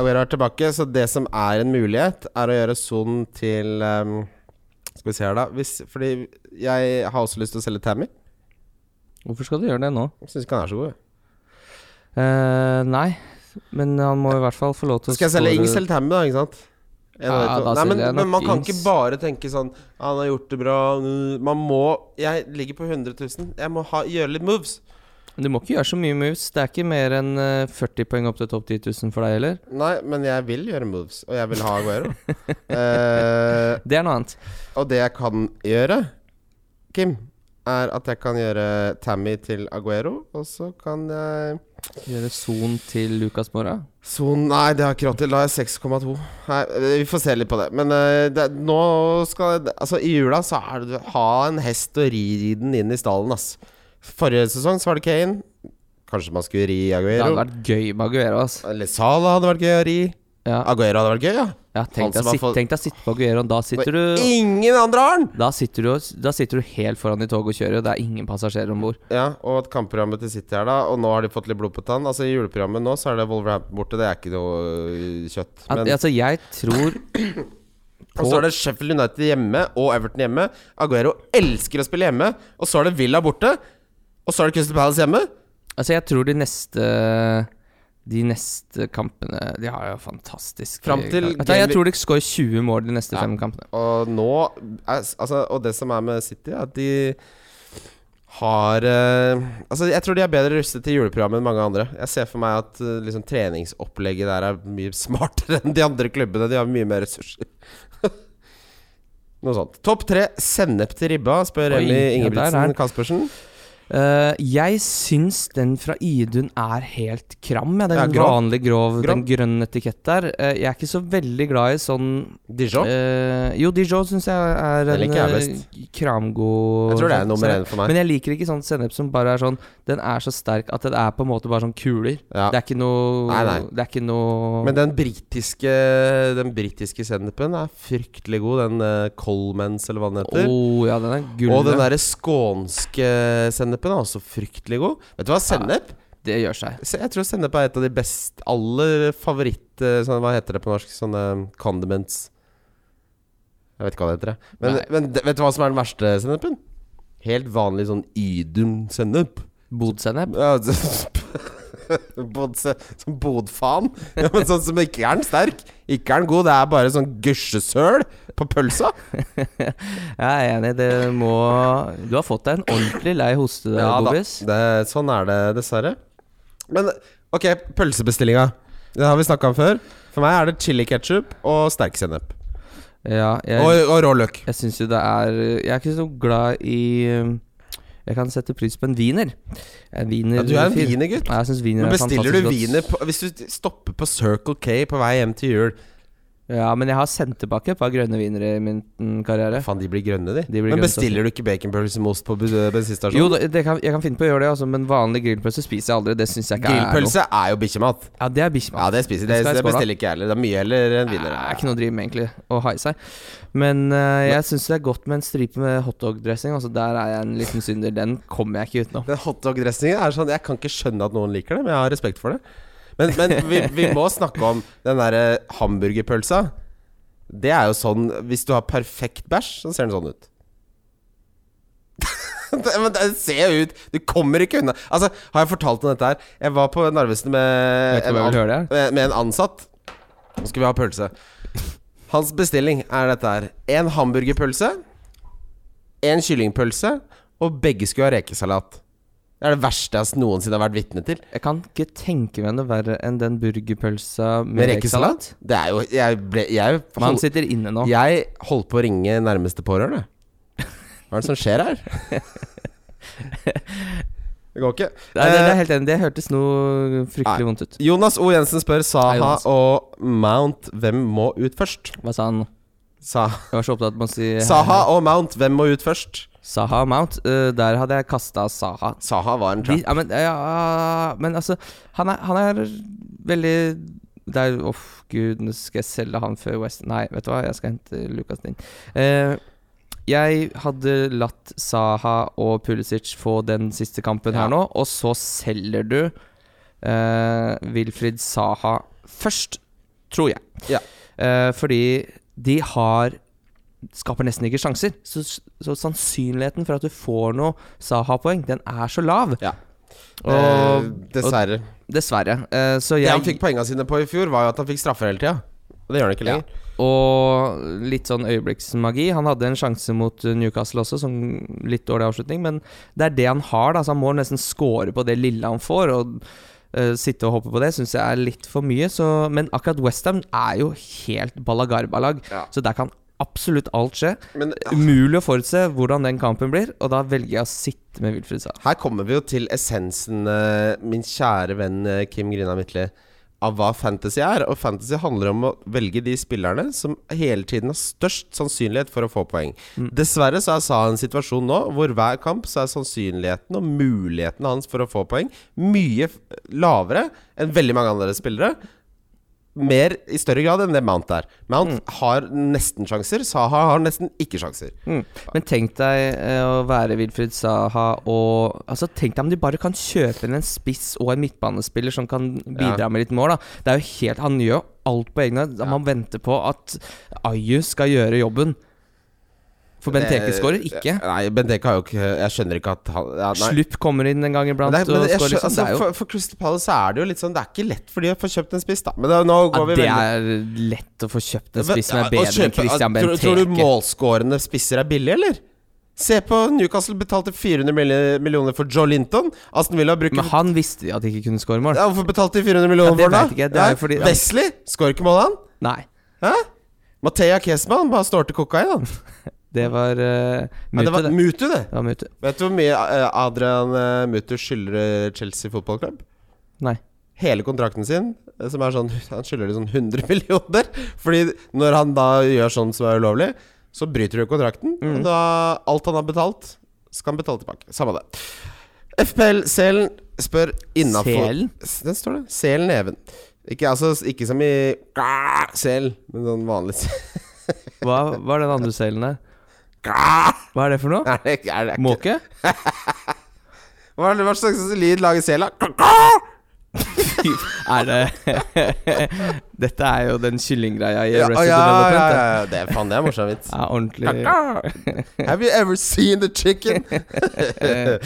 Speaker 3: Aguero er tilbake, så det som er en mulighet, er å gjøre Son til ehm, Skal vi se her, da. Hvis, fordi jeg har også lyst til å selge Tammy.
Speaker 2: Hvorfor skal du gjøre det nå?
Speaker 3: Jeg syns ikke han er så god. jeg.
Speaker 2: Eh, nei, men han må i hvert fall få lov til å
Speaker 3: Skal jeg selge
Speaker 2: score-
Speaker 3: Ings eller Tammy, da? Ikke sant? En av de
Speaker 2: Ja,
Speaker 3: to.
Speaker 2: da
Speaker 3: Nei, men,
Speaker 2: selger jeg nok
Speaker 3: men man kan ikke
Speaker 2: Ings.
Speaker 3: bare tenke sånn Han har gjort det bra mm, Man må Jeg ligger på 100 000. Jeg må ha, gjøre litt moves.
Speaker 2: Du må ikke gjøre så mye moves. Det er ikke mer enn eh, 40 poeng opp til topp 10 000 for deg heller.
Speaker 3: Nei, men jeg vil gjøre moves, og jeg vil ha Aguero. Eh,
Speaker 2: Det er noe annet.
Speaker 3: og det jeg kan gjøre, Kim, er at jeg kan gjøre Tammy til Aguero, og så kan jeg
Speaker 2: Gjøre son til Lucas Mora.
Speaker 3: Så nei, det har jeg ikke råd til. Da har jeg 6,2. Nei, eh, Vi får se litt på det. Men eh, det, nå skal jeg Altså, i jula så er det ha en hest og ri den inn i stallen, ass. Forrige sesong så var det Kane. Kanskje man skulle ri
Speaker 2: Det hadde
Speaker 3: Aguero.
Speaker 2: vært gøy med Aguero, altså.
Speaker 3: Eller Salah hadde vært gøy å ri.
Speaker 2: Ja,
Speaker 3: Aguero hadde vært gøy, ja.
Speaker 2: ja
Speaker 3: Han
Speaker 2: tenk, deg,
Speaker 3: som har
Speaker 2: sitt,
Speaker 3: fått-
Speaker 2: tenk deg å sitte på Aguero, da sitter du
Speaker 3: Ingen andre har den!
Speaker 2: da sitter, du, da sitter du helt foran i toget og kjører, og det er ingen passasjerer om bord.
Speaker 3: Ja, og at kampprogrammet til City her, da. Og nå har de fått litt blod på tann. Altså, i juleprogrammet nå så er det Wolverhampton borte. Det er ikke noe øh, kjøtt. Men,
Speaker 2: Altså, jeg tror
Speaker 3: Og så er det Sheffield United hjemme og Everton hjemme. Aguero elsker å spille hjemme. Og så er det Villa borte. Og så er det Crystal Palace hjemme.
Speaker 2: Altså, jeg tror de neste De neste kampene De har jo fantastisk
Speaker 3: Fram til
Speaker 2: Vet du hva, Jeg tror de scorer 20 mål de neste fem kampene.
Speaker 3: Og nå er, altså, Og det som er med City, er at de har eh, Altså, jeg tror de er bedre rustet til juleprogrammet enn mange andre. Jeg ser for meg at eh, liksom, treningsopplegget der er mye smartere enn de andre klubbene. De har mye mer ressurser. Noe sånt. Topp tre sennep til ribba, spør
Speaker 2: Oi, ja,
Speaker 3: Emmy
Speaker 2: der er
Speaker 3: Ingebrigtsen
Speaker 2: den.
Speaker 3: Caspersen.
Speaker 2: Eh, jeg syns den fra Idun er helt kram, jeg. Den
Speaker 3: Ja, grov.
Speaker 2: vanlig grov,
Speaker 3: Grov.
Speaker 2: den grønne etikett der. Eh, jeg er ikke så veldig glad i sånn
Speaker 3: Dijon.
Speaker 2: eh, Jo, Dijon syns jeg er
Speaker 3: Den
Speaker 2: en
Speaker 3: liker jeg
Speaker 2: eh, kramgod
Speaker 3: Jeg tror det er nummer én for meg.
Speaker 2: Men jeg liker ikke sånn sennep som bare er sånn Den er så sterk at den er på en måte bare sånn kuler.
Speaker 3: Ja.
Speaker 2: Det er ikke noe
Speaker 3: Nei, nei.
Speaker 2: Det er ikke noe
Speaker 3: Men den britiske Den britiske sennepen er fryktelig god. Den eh, Colemans, eller hva den
Speaker 2: Å
Speaker 3: heter.
Speaker 2: ja, den er gull.
Speaker 3: og den derre skånske sennepen er også fryktelig god. Vet du hva, sennep?
Speaker 2: Det gjør seg.
Speaker 3: Se, Jeg tror sennep er et av de best aller favoritt eh, sånn, Hva heter det på norsk? Sånne eh, condiments. Jeg vet ikke hva det heter. jeg. Men,
Speaker 2: Nei.
Speaker 3: men d- vet du hva som er den verste sennepen? Helt vanlig sånn Idun-sennep.
Speaker 2: Bodsennep.
Speaker 3: Ja, så- Bod, se- som bodfaen. Ja, men sånn som ikke er den sterk. Ikke er den god, det er bare sånn gusjesøl på pølsa.
Speaker 2: Jeg er enig, det må Du har fått deg en ordentlig lei hoste, der,
Speaker 3: da,
Speaker 2: Bobis.
Speaker 3: det, sånn er det dessverre. Men ok, pølsebestillinga. Det har vi snakka om før. For meg er det chili ketchup og sterk sennep.
Speaker 2: Ja, jeg,
Speaker 3: Og, og rå løk.
Speaker 2: jeg syns jo det er Jeg er ikke så glad i um, Jeg kan sette pris på en wiener. En wiener
Speaker 3: Ja, du er en
Speaker 2: fin.
Speaker 3: wienergutt.
Speaker 2: Ja, jeg synes wiener
Speaker 3: Men
Speaker 2: er
Speaker 3: bestiller
Speaker 2: fantastisk
Speaker 3: du
Speaker 2: godt.
Speaker 3: wiener på, Hvis du stopper på Circle K på vei hjem til jul
Speaker 2: Ja, men jeg har sendt tilbake et par grønne wienere i min mm, karriere.
Speaker 3: Faen, de blir grønne, de.
Speaker 2: De blir
Speaker 3: Men
Speaker 2: grønne,
Speaker 3: bestiller du ikke baconpølse med ost på bu-
Speaker 2: Jo,
Speaker 3: bensinstasjonen?
Speaker 2: det, det kan, jeg kan finne på å gjøre det, altså, men vanlig grillpølse spiser jeg aldri. Det syns jeg ikke
Speaker 3: Grillpølse er jo bikkjemat.
Speaker 2: er noe. Ja, det er bikkjemat.
Speaker 3: Ja, det
Speaker 2: Det
Speaker 3: spiser det,
Speaker 2: skal i
Speaker 3: det
Speaker 2: skåla.
Speaker 3: bestiller ikke jeg heller. Det er mye heller enn
Speaker 2: Det
Speaker 3: wiener.
Speaker 2: er ikke noe å drive med, egentlig, å ha i seg. Men eh, jeg syns det er godt med en stripe med hotdog-dressing. Altså, der er jeg en liten synder. Den kommer jeg ikke utenom.
Speaker 3: Den hotdog-dressingen er sånn Jeg kan ikke skjønne at noen liker det, men jeg har respekt for det. Men, men vi, vi må snakke om den derre hamburgerpølsa. Det er jo sånn Hvis du har perfekt bæsj, så ser den sånn ut. Det- Men den ser jo ut Du kommer ikke unna. Altså, har jeg fortalt om dette her? Jeg var på Narvesen med,
Speaker 2: Vet du hva jeg vil høre det
Speaker 3: med, med en ansatt. Nå skal vi ha pølse. Hans bestilling er dette her. En hamburgerpølse, en kyllingpølse, og begge skulle ha rekesalat. Det er det verste jeg noensinne har vært vitne til.
Speaker 2: Jeg kan ikke tenke meg noe verre enn den burgerpølsa med,
Speaker 3: Med
Speaker 2: rekesalat.
Speaker 3: rekesalat? Det er jo Jeg ble Jeg,
Speaker 2: Man
Speaker 3: hold,
Speaker 2: sitter inne nå.
Speaker 3: jeg holdt på å ringe nærmeste pårørende. Hva er det som skjer her? Det går ikke.
Speaker 2: Nei, det, det
Speaker 3: Eh,
Speaker 2: er helt enig. Det hørtes noe fryktelig vondt ut.
Speaker 3: Jonas O. Jensen spør
Speaker 2: Hei,
Speaker 3: Saha
Speaker 2: Jonas.
Speaker 3: og Mount hvem må ut først.
Speaker 2: Hva sa han?
Speaker 3: Sa,
Speaker 2: Jeg var så opptatt med å si
Speaker 3: Saha og Mount hvem må ut først?
Speaker 2: Saha Mount. Eh, der hadde jeg kasta Saha.
Speaker 3: Saha var en
Speaker 2: De,
Speaker 3: trap.
Speaker 2: ja, men, ja, men altså Han er, han er veldig det er, Åh, gud, nå skal jeg selge han før West Nei, vet du hva, jeg skal hente Lukas din. Eh, jeg hadde latt Saha og Pulisic få den siste kampen
Speaker 3: Ja.
Speaker 2: her nå, og så selger du eh, Wilfried Saha først, tror jeg.
Speaker 3: Ja.
Speaker 2: Eh, fordi de har Skaper nesten ikke sjanser. Så, så sannsynligheten for at du får noe Saha-poeng, den er så lav.
Speaker 3: Ja.
Speaker 2: Og
Speaker 3: Eh, dessverre.
Speaker 2: dessverre. Eh, så
Speaker 3: det han
Speaker 2: jeg
Speaker 3: fikk poengene sine på i fjor, var jo at han fikk straffer hele tida. Og det gjør han ikke lenger.
Speaker 2: Og litt sånn øyeblikksmagi. Han hadde en sjanse mot eh, Newcastle også, som litt dårlig avslutning, men det er det han har, da. Så han må nesten score på det lille han får. Og eh, sitte og hoppe på det syns jeg er litt for mye. Så, men akkurat Westham er jo helt ballagarbalag,
Speaker 3: Ja.
Speaker 2: så der kan absolutt alt skje.
Speaker 3: Men
Speaker 2: Umulig å forutse hvordan den kampen blir, og da velger jeg å sitte med Wilfred Saha.
Speaker 3: her kommer vi jo til essensen, eh, min kjære venn eh, Kim Grina Midtli, av hva fantasy er. Og fantasy handler om å velge de spillerne som hele tiden har størst sannsynlighet for å få poeng. Dessverre så er Saha i en situasjon nå hvor hver kamp så er sannsynligheten og muligheten hans for å få poeng mye f- lavere enn veldig mange andre spillere. Mer i større grad enn det Mount er. Mount har nesten sjanser. Saha har nesten ikke sjanser.
Speaker 2: Mm. Men tenk deg eh, å være Wilfried Saha og Altså Tenk deg om de bare kan kjøpe inn en spiss og en midtbanespiller som kan bidra
Speaker 3: Ja.
Speaker 2: med litt mål. da Det er jo helt Han gjør jo alt på egen hånd. Man venter på at Ayu skal gjøre jobben. For Benteke skårer ikke.
Speaker 3: Eh, Nei, Benteke har jo ikke Jeg skjønner ikke at han ja, nei.
Speaker 2: Slupp kommer inn en gang iblant
Speaker 3: Men det,
Speaker 2: og
Speaker 3: men jeg
Speaker 2: skårer.
Speaker 3: skjønner,
Speaker 2: Liksom.
Speaker 3: altså,
Speaker 2: det er jo
Speaker 3: for, for Crystal Palace så er det jo litt sånn Det er ikke lett for de å få kjøpt en spiss, da. Men da, nå
Speaker 2: ja,
Speaker 3: går vi
Speaker 2: Det
Speaker 3: veldig
Speaker 2: er lett å få kjøpt en spiss som
Speaker 3: Ja,
Speaker 2: er
Speaker 3: og
Speaker 2: bedre enn
Speaker 3: kjøpe- altså,
Speaker 2: Christian
Speaker 3: tror, tror du
Speaker 2: Benteke.
Speaker 3: målskårende spisser er billig, eller? Se på Newcastle betalte 400 milli- millioner for Joe Linton. Aston Villa bruker
Speaker 2: Men han visste de at de ikke kunne skåre mål.
Speaker 3: ja, Hvorfor betalte de 400 millioner
Speaker 2: Ja, det
Speaker 3: for
Speaker 2: vet ikke jeg.
Speaker 3: den,
Speaker 2: Det
Speaker 3: da?
Speaker 2: er
Speaker 3: Ja,
Speaker 2: jo fordi-
Speaker 3: Wesley skårer ikke mål, han.
Speaker 2: Nei.
Speaker 3: Hæ? Mathea Kesman bare snorter kokain, han.
Speaker 2: Det var eh,
Speaker 3: Ja, det
Speaker 2: Mute,
Speaker 3: var
Speaker 2: det.
Speaker 3: Mutu, det.
Speaker 2: Det var Mute.
Speaker 3: Vet du hvor mye eh, Adrian eh, Mutu skylder eh, Chelsea fotballklubb?
Speaker 2: Nei.
Speaker 3: hele kontrakten sin, eh, som er sånn Han skylder de sånn 100 millioner. Fordi når han da gjør sånn som er ulovlig, så bryter du kontrakten.
Speaker 2: Mm.
Speaker 3: Og da alt han har betalt, skal han betale tilbake. Samme det. FPL-selen spør innafor
Speaker 2: Selen?
Speaker 3: Den står det. Sel neven. Ikke, altså, ikke som i gah, sel, men sånn vanlig sel.
Speaker 2: Hva var den andre selen der?
Speaker 3: Gah!
Speaker 2: Hva er det for noe?
Speaker 3: Er det, er det, ikke-
Speaker 2: Måke?
Speaker 3: hva, er det- hva slags lyd lager sela? Gah, gah!
Speaker 2: Er det Dette er jo den kyllinggreia i
Speaker 3: Ja,
Speaker 2: Arrested
Speaker 3: ja,
Speaker 2: Development.
Speaker 3: ja,
Speaker 2: det.
Speaker 3: ja, det er faen, det er morsom vits.
Speaker 2: Ja, ordentlig
Speaker 3: Eh, Have you ever seen the chicken?
Speaker 2: eh,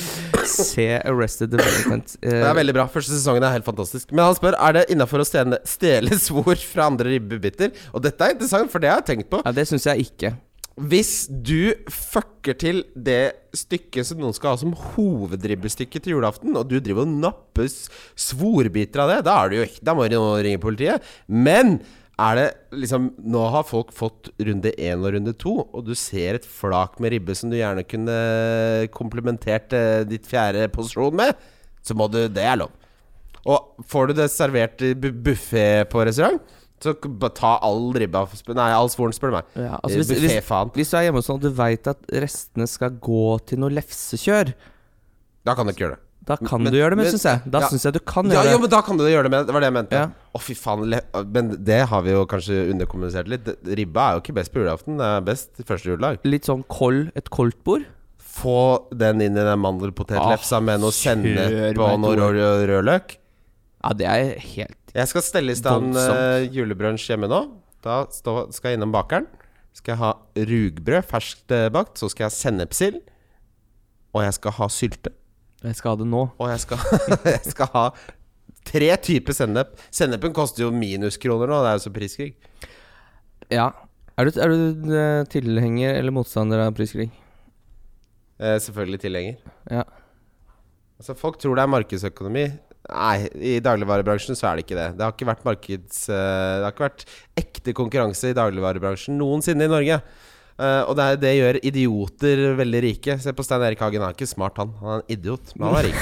Speaker 2: Se Arrested Development. Eh,
Speaker 3: Det er veldig bra. Første sesongen er helt fantastisk. Men han spør er det innafor å stjene, stjele svor fra andre ribbebiter. Og dette er interessant, for det har jeg tenkt på.
Speaker 2: ja, det syns jeg ikke.
Speaker 3: Hvis du fucker til det stykket som noen skal ha som hovedribbestykke til julaften, og du driver og napper s- svorbiter av det, da, er du jo, da må du jo ringe politiet. Men Er det liksom Nå har folk fått runde én og runde to, og du ser et flak med ribbe som du gjerne kunne komplementert eh, ditt fjerde posisjon med, så må du Det er lov. Og får du det servert i bu- buffé på restaurant, så k- bare ta all ribba sp- Nei, all svoren, spør du meg.
Speaker 2: Ja,
Speaker 3: Eh,
Speaker 2: altså hvis,
Speaker 3: buffé,
Speaker 2: hvis,
Speaker 3: faen.
Speaker 2: hvis du er hjemme hos noen og du veit at restene skal gå til noe lefsekjør,
Speaker 3: Da kan du ikke gjøre det.
Speaker 2: da kan
Speaker 3: Men-
Speaker 2: du gjøre det, men,
Speaker 3: men-
Speaker 2: syns jeg. Da
Speaker 3: ja.
Speaker 2: synes syns jeg du kan
Speaker 3: Ja,
Speaker 2: gjøre
Speaker 3: jo,
Speaker 2: det.
Speaker 3: men da kan du gjøre det med Det var det jeg mente.
Speaker 2: Ja.
Speaker 3: Å, fy faen. Le men det har vi jo kanskje underkommunisert litt. Det- Ribba er jo ikke best på julaften. Det er best første juledag.
Speaker 2: Litt sånn kold, et koldt bord.
Speaker 3: Få den inn i den
Speaker 2: Ah,
Speaker 3: mandelpotetlefsa med noe sennep og noe rød, rød, rødløk.
Speaker 2: Ja, det er helt
Speaker 3: Jeg skal stelle i stand
Speaker 2: Voldsomt.
Speaker 3: eh, julebrunsj hjemme nå. Da stå, skal jeg innom bakeren. Skal jeg ha rugbrød, ferskt eh, bakt. Så skal jeg ha sennepsild. Og jeg skal ha sylte.
Speaker 2: Jeg skal ha det nå.
Speaker 3: Og jeg skal, jeg skal ha tre typer sennep. Sennepen koster jo minuskroner nå. Det er jo så priskrig.
Speaker 2: Ja. Er du, er du eh, tilhenger eller motstander av priskrig?
Speaker 3: Eh, selvfølgelig tilhenger.
Speaker 2: Ja.
Speaker 3: Altså, folk tror det er markedsøkonomi. Nei, i dagligvarebransjen så er det ikke det. Det har ikke vært, markeds, eh, det har ikke vært ekte konkurranse i dagligvarebransjen noensinne i Norge. Eh, og det, er, det gjør idioter veldig rike. Se på Stein Erik Hagen. Han er ikke smart, han. Han er en idiot, men han er rik.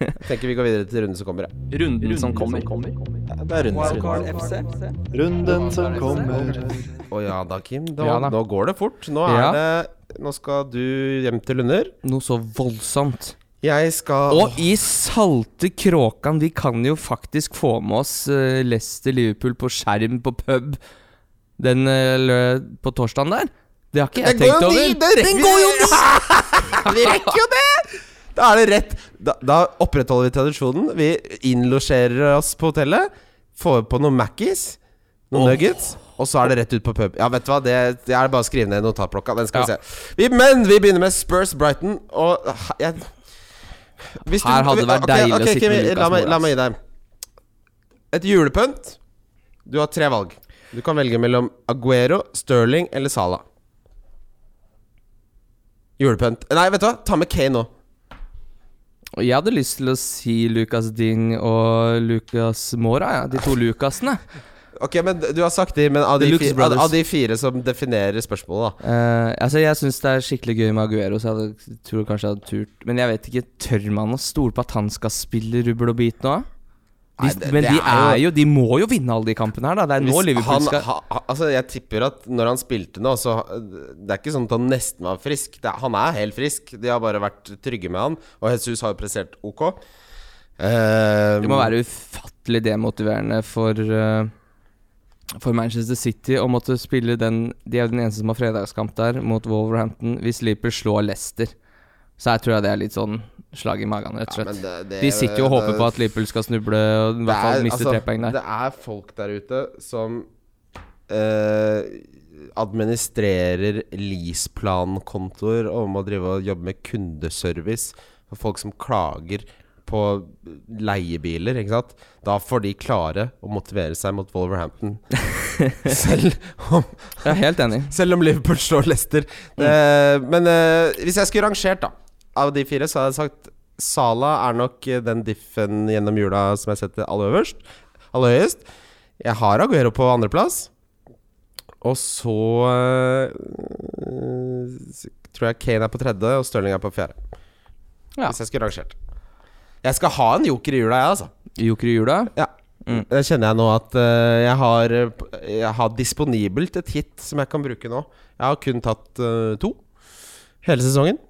Speaker 3: Jeg tenker vi går videre til runden som kommer. jeg.
Speaker 2: Runden som kommer.
Speaker 3: Ja, det er runden som
Speaker 1: Wildcard
Speaker 3: kommer.
Speaker 1: FC.
Speaker 4: Runden som kommer.
Speaker 3: Å ja da, Kim. Nå,
Speaker 2: Ja da.
Speaker 3: nå går det fort. Nå, er
Speaker 2: Ja.
Speaker 3: det, nå skal du hjem til Lunder.
Speaker 2: Noe så voldsomt.
Speaker 3: Jeg skal
Speaker 2: Og i salte kråkan, vi kan jo faktisk få med oss eh, Leicester Liverpool på skjerm på pub den eh, lø- på torsdagen der. Det har ikke jeg
Speaker 3: Den går
Speaker 2: tenkt
Speaker 3: jo
Speaker 2: over.
Speaker 3: ni- det rekker vi- Vi rekker jo det! Da er det rett. Da, da opprettholder vi tradisjonen. Vi innlosjerer oss på hotellet, får på noen Mackies, noen nuggets, og så er det rett ut på pub. Ja, vet du hva, det, det er bare å skrive ned i notatblokka. Den skal
Speaker 2: Ja.
Speaker 3: vi se. Vi, men vi begynner med Spurs Brighton, og ah, jeg Hvis
Speaker 2: Her hadde det vært
Speaker 3: ok,
Speaker 2: deilig å
Speaker 3: ok,
Speaker 2: sitte
Speaker 3: Kim,
Speaker 2: med Lucas
Speaker 3: la, meg, la
Speaker 2: Moura,
Speaker 3: meg gi deg et julepynt. Du har tre valg. Du kan velge mellom Aguero, Sterling eller Salah. Julepynt. Nei, vet du hva, ta med Kane nå.
Speaker 2: Og jeg hadde lyst til å si Lucas Ding og Lucas Mora, ja. de to Lucasene.
Speaker 3: Ok, men du har sagt de, men av
Speaker 2: The
Speaker 3: de,
Speaker 2: Lucas
Speaker 3: fire, av,
Speaker 2: Brothers.
Speaker 3: av de fire som definerer spørsmålet, da.
Speaker 2: Eh, altså Jeg syns det er skikkelig gøy med Aguero, så jeg hadde, tror kanskje jeg hadde turt Men jeg vet ikke, tør man å stole på at han skal spille rubbel og bit nå? De,
Speaker 3: Nei, det-
Speaker 2: men
Speaker 3: det
Speaker 2: de
Speaker 3: er
Speaker 2: er,
Speaker 3: jo-
Speaker 2: jo De må jo vinne alle de kampene her, da. Det er nå
Speaker 3: Hvis
Speaker 2: Liverpool
Speaker 3: han,
Speaker 2: skal
Speaker 3: ha, ha- altså, jeg tipper at når han spilte nå, så Det er ikke sånn at han nesten var frisk. Det, er- han er helt frisk. De har bare vært trygge med han. Og Jesus har jo prestert ok. Eh,
Speaker 2: Det må være ufattelig demotiverende for eh, For Manchester City å måtte spille den De er jo den eneste som har fredagskamp der, mot Wolverhampton. Hvis Liverpool slår Leicester, så her tror jeg det er litt sånn slag i magen, rett og
Speaker 3: Ja, men
Speaker 2: slett.
Speaker 3: det- det-
Speaker 2: De sitter jo og håper
Speaker 3: det-
Speaker 2: på at Liverpool skal snuble og i hvert
Speaker 3: Det er-
Speaker 2: fall miste
Speaker 3: altså,
Speaker 2: tre poeng der.
Speaker 3: Det er folk der ute som eh, administrerer leaseplankontoer og må drive og jobbe med kundeservice. For folk som klager på leiebiler, ikke sant. Da får de klare å motivere seg mot Wolverhampton. selv, om,
Speaker 2: Jeg er helt enig.
Speaker 3: selv om Liverpool slår Leicester. Eh, men eh, hvis jeg skulle rangert, da, av de fire, så hadde jeg sagt Sala er nok eh, den diffen gjennom jula som jeg setter aller øverst. Aller høyest. Jeg har Aguero på andreplass. Og så eh, tror jeg Kane er på tredje, og Stirling er på fjerde.
Speaker 2: Ja.
Speaker 3: Hvis jeg skulle rangert. Jeg skal ha en joker i jula, jeg, altså.
Speaker 2: Joker i jula.
Speaker 3: Ja. Det kjenner jeg nå at eh, jeg, har, eh, p- jeg har disponibelt et hit som jeg kan bruke nå. Jeg har kun tatt eh, to hele sesongen.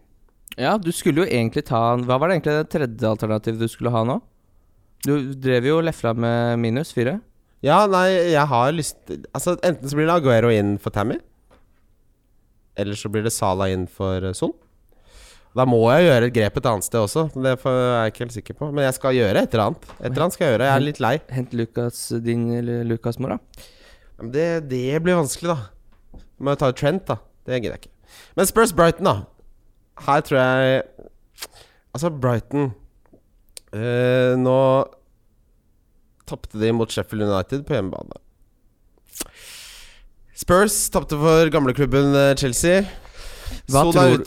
Speaker 2: Ja, du skulle jo egentlig ta Hva var det egentlig det tredje alternativet du skulle ha nå? Du drev jo og lefla med minus fire.
Speaker 3: Ja, nei, jeg har lyst Altså Enten så blir det Aguero inn for Tammy, eller så blir det Sala inn for eh, Son. Da må jeg gjøre et grep et annet sted også. men Det får- er jeg ikke helt sikker på. Men jeg skal gjøre et eller annet. Et eller annet skal Jeg gjøre Jeg er litt lei.
Speaker 2: Hent Lucas din eller Lucas Mora.
Speaker 3: Men det, det blir vanskelig, da. Må jo ta Trent, da. Det gidder jeg ikke. Men Spurs Brighton, da. Her tror jeg Altså, Brighton eh, Nå tapte de mot Sheffield United på hjemmebane. Spurs tapte for gamleklubben eh, Chelsea.
Speaker 2: Hva
Speaker 3: Son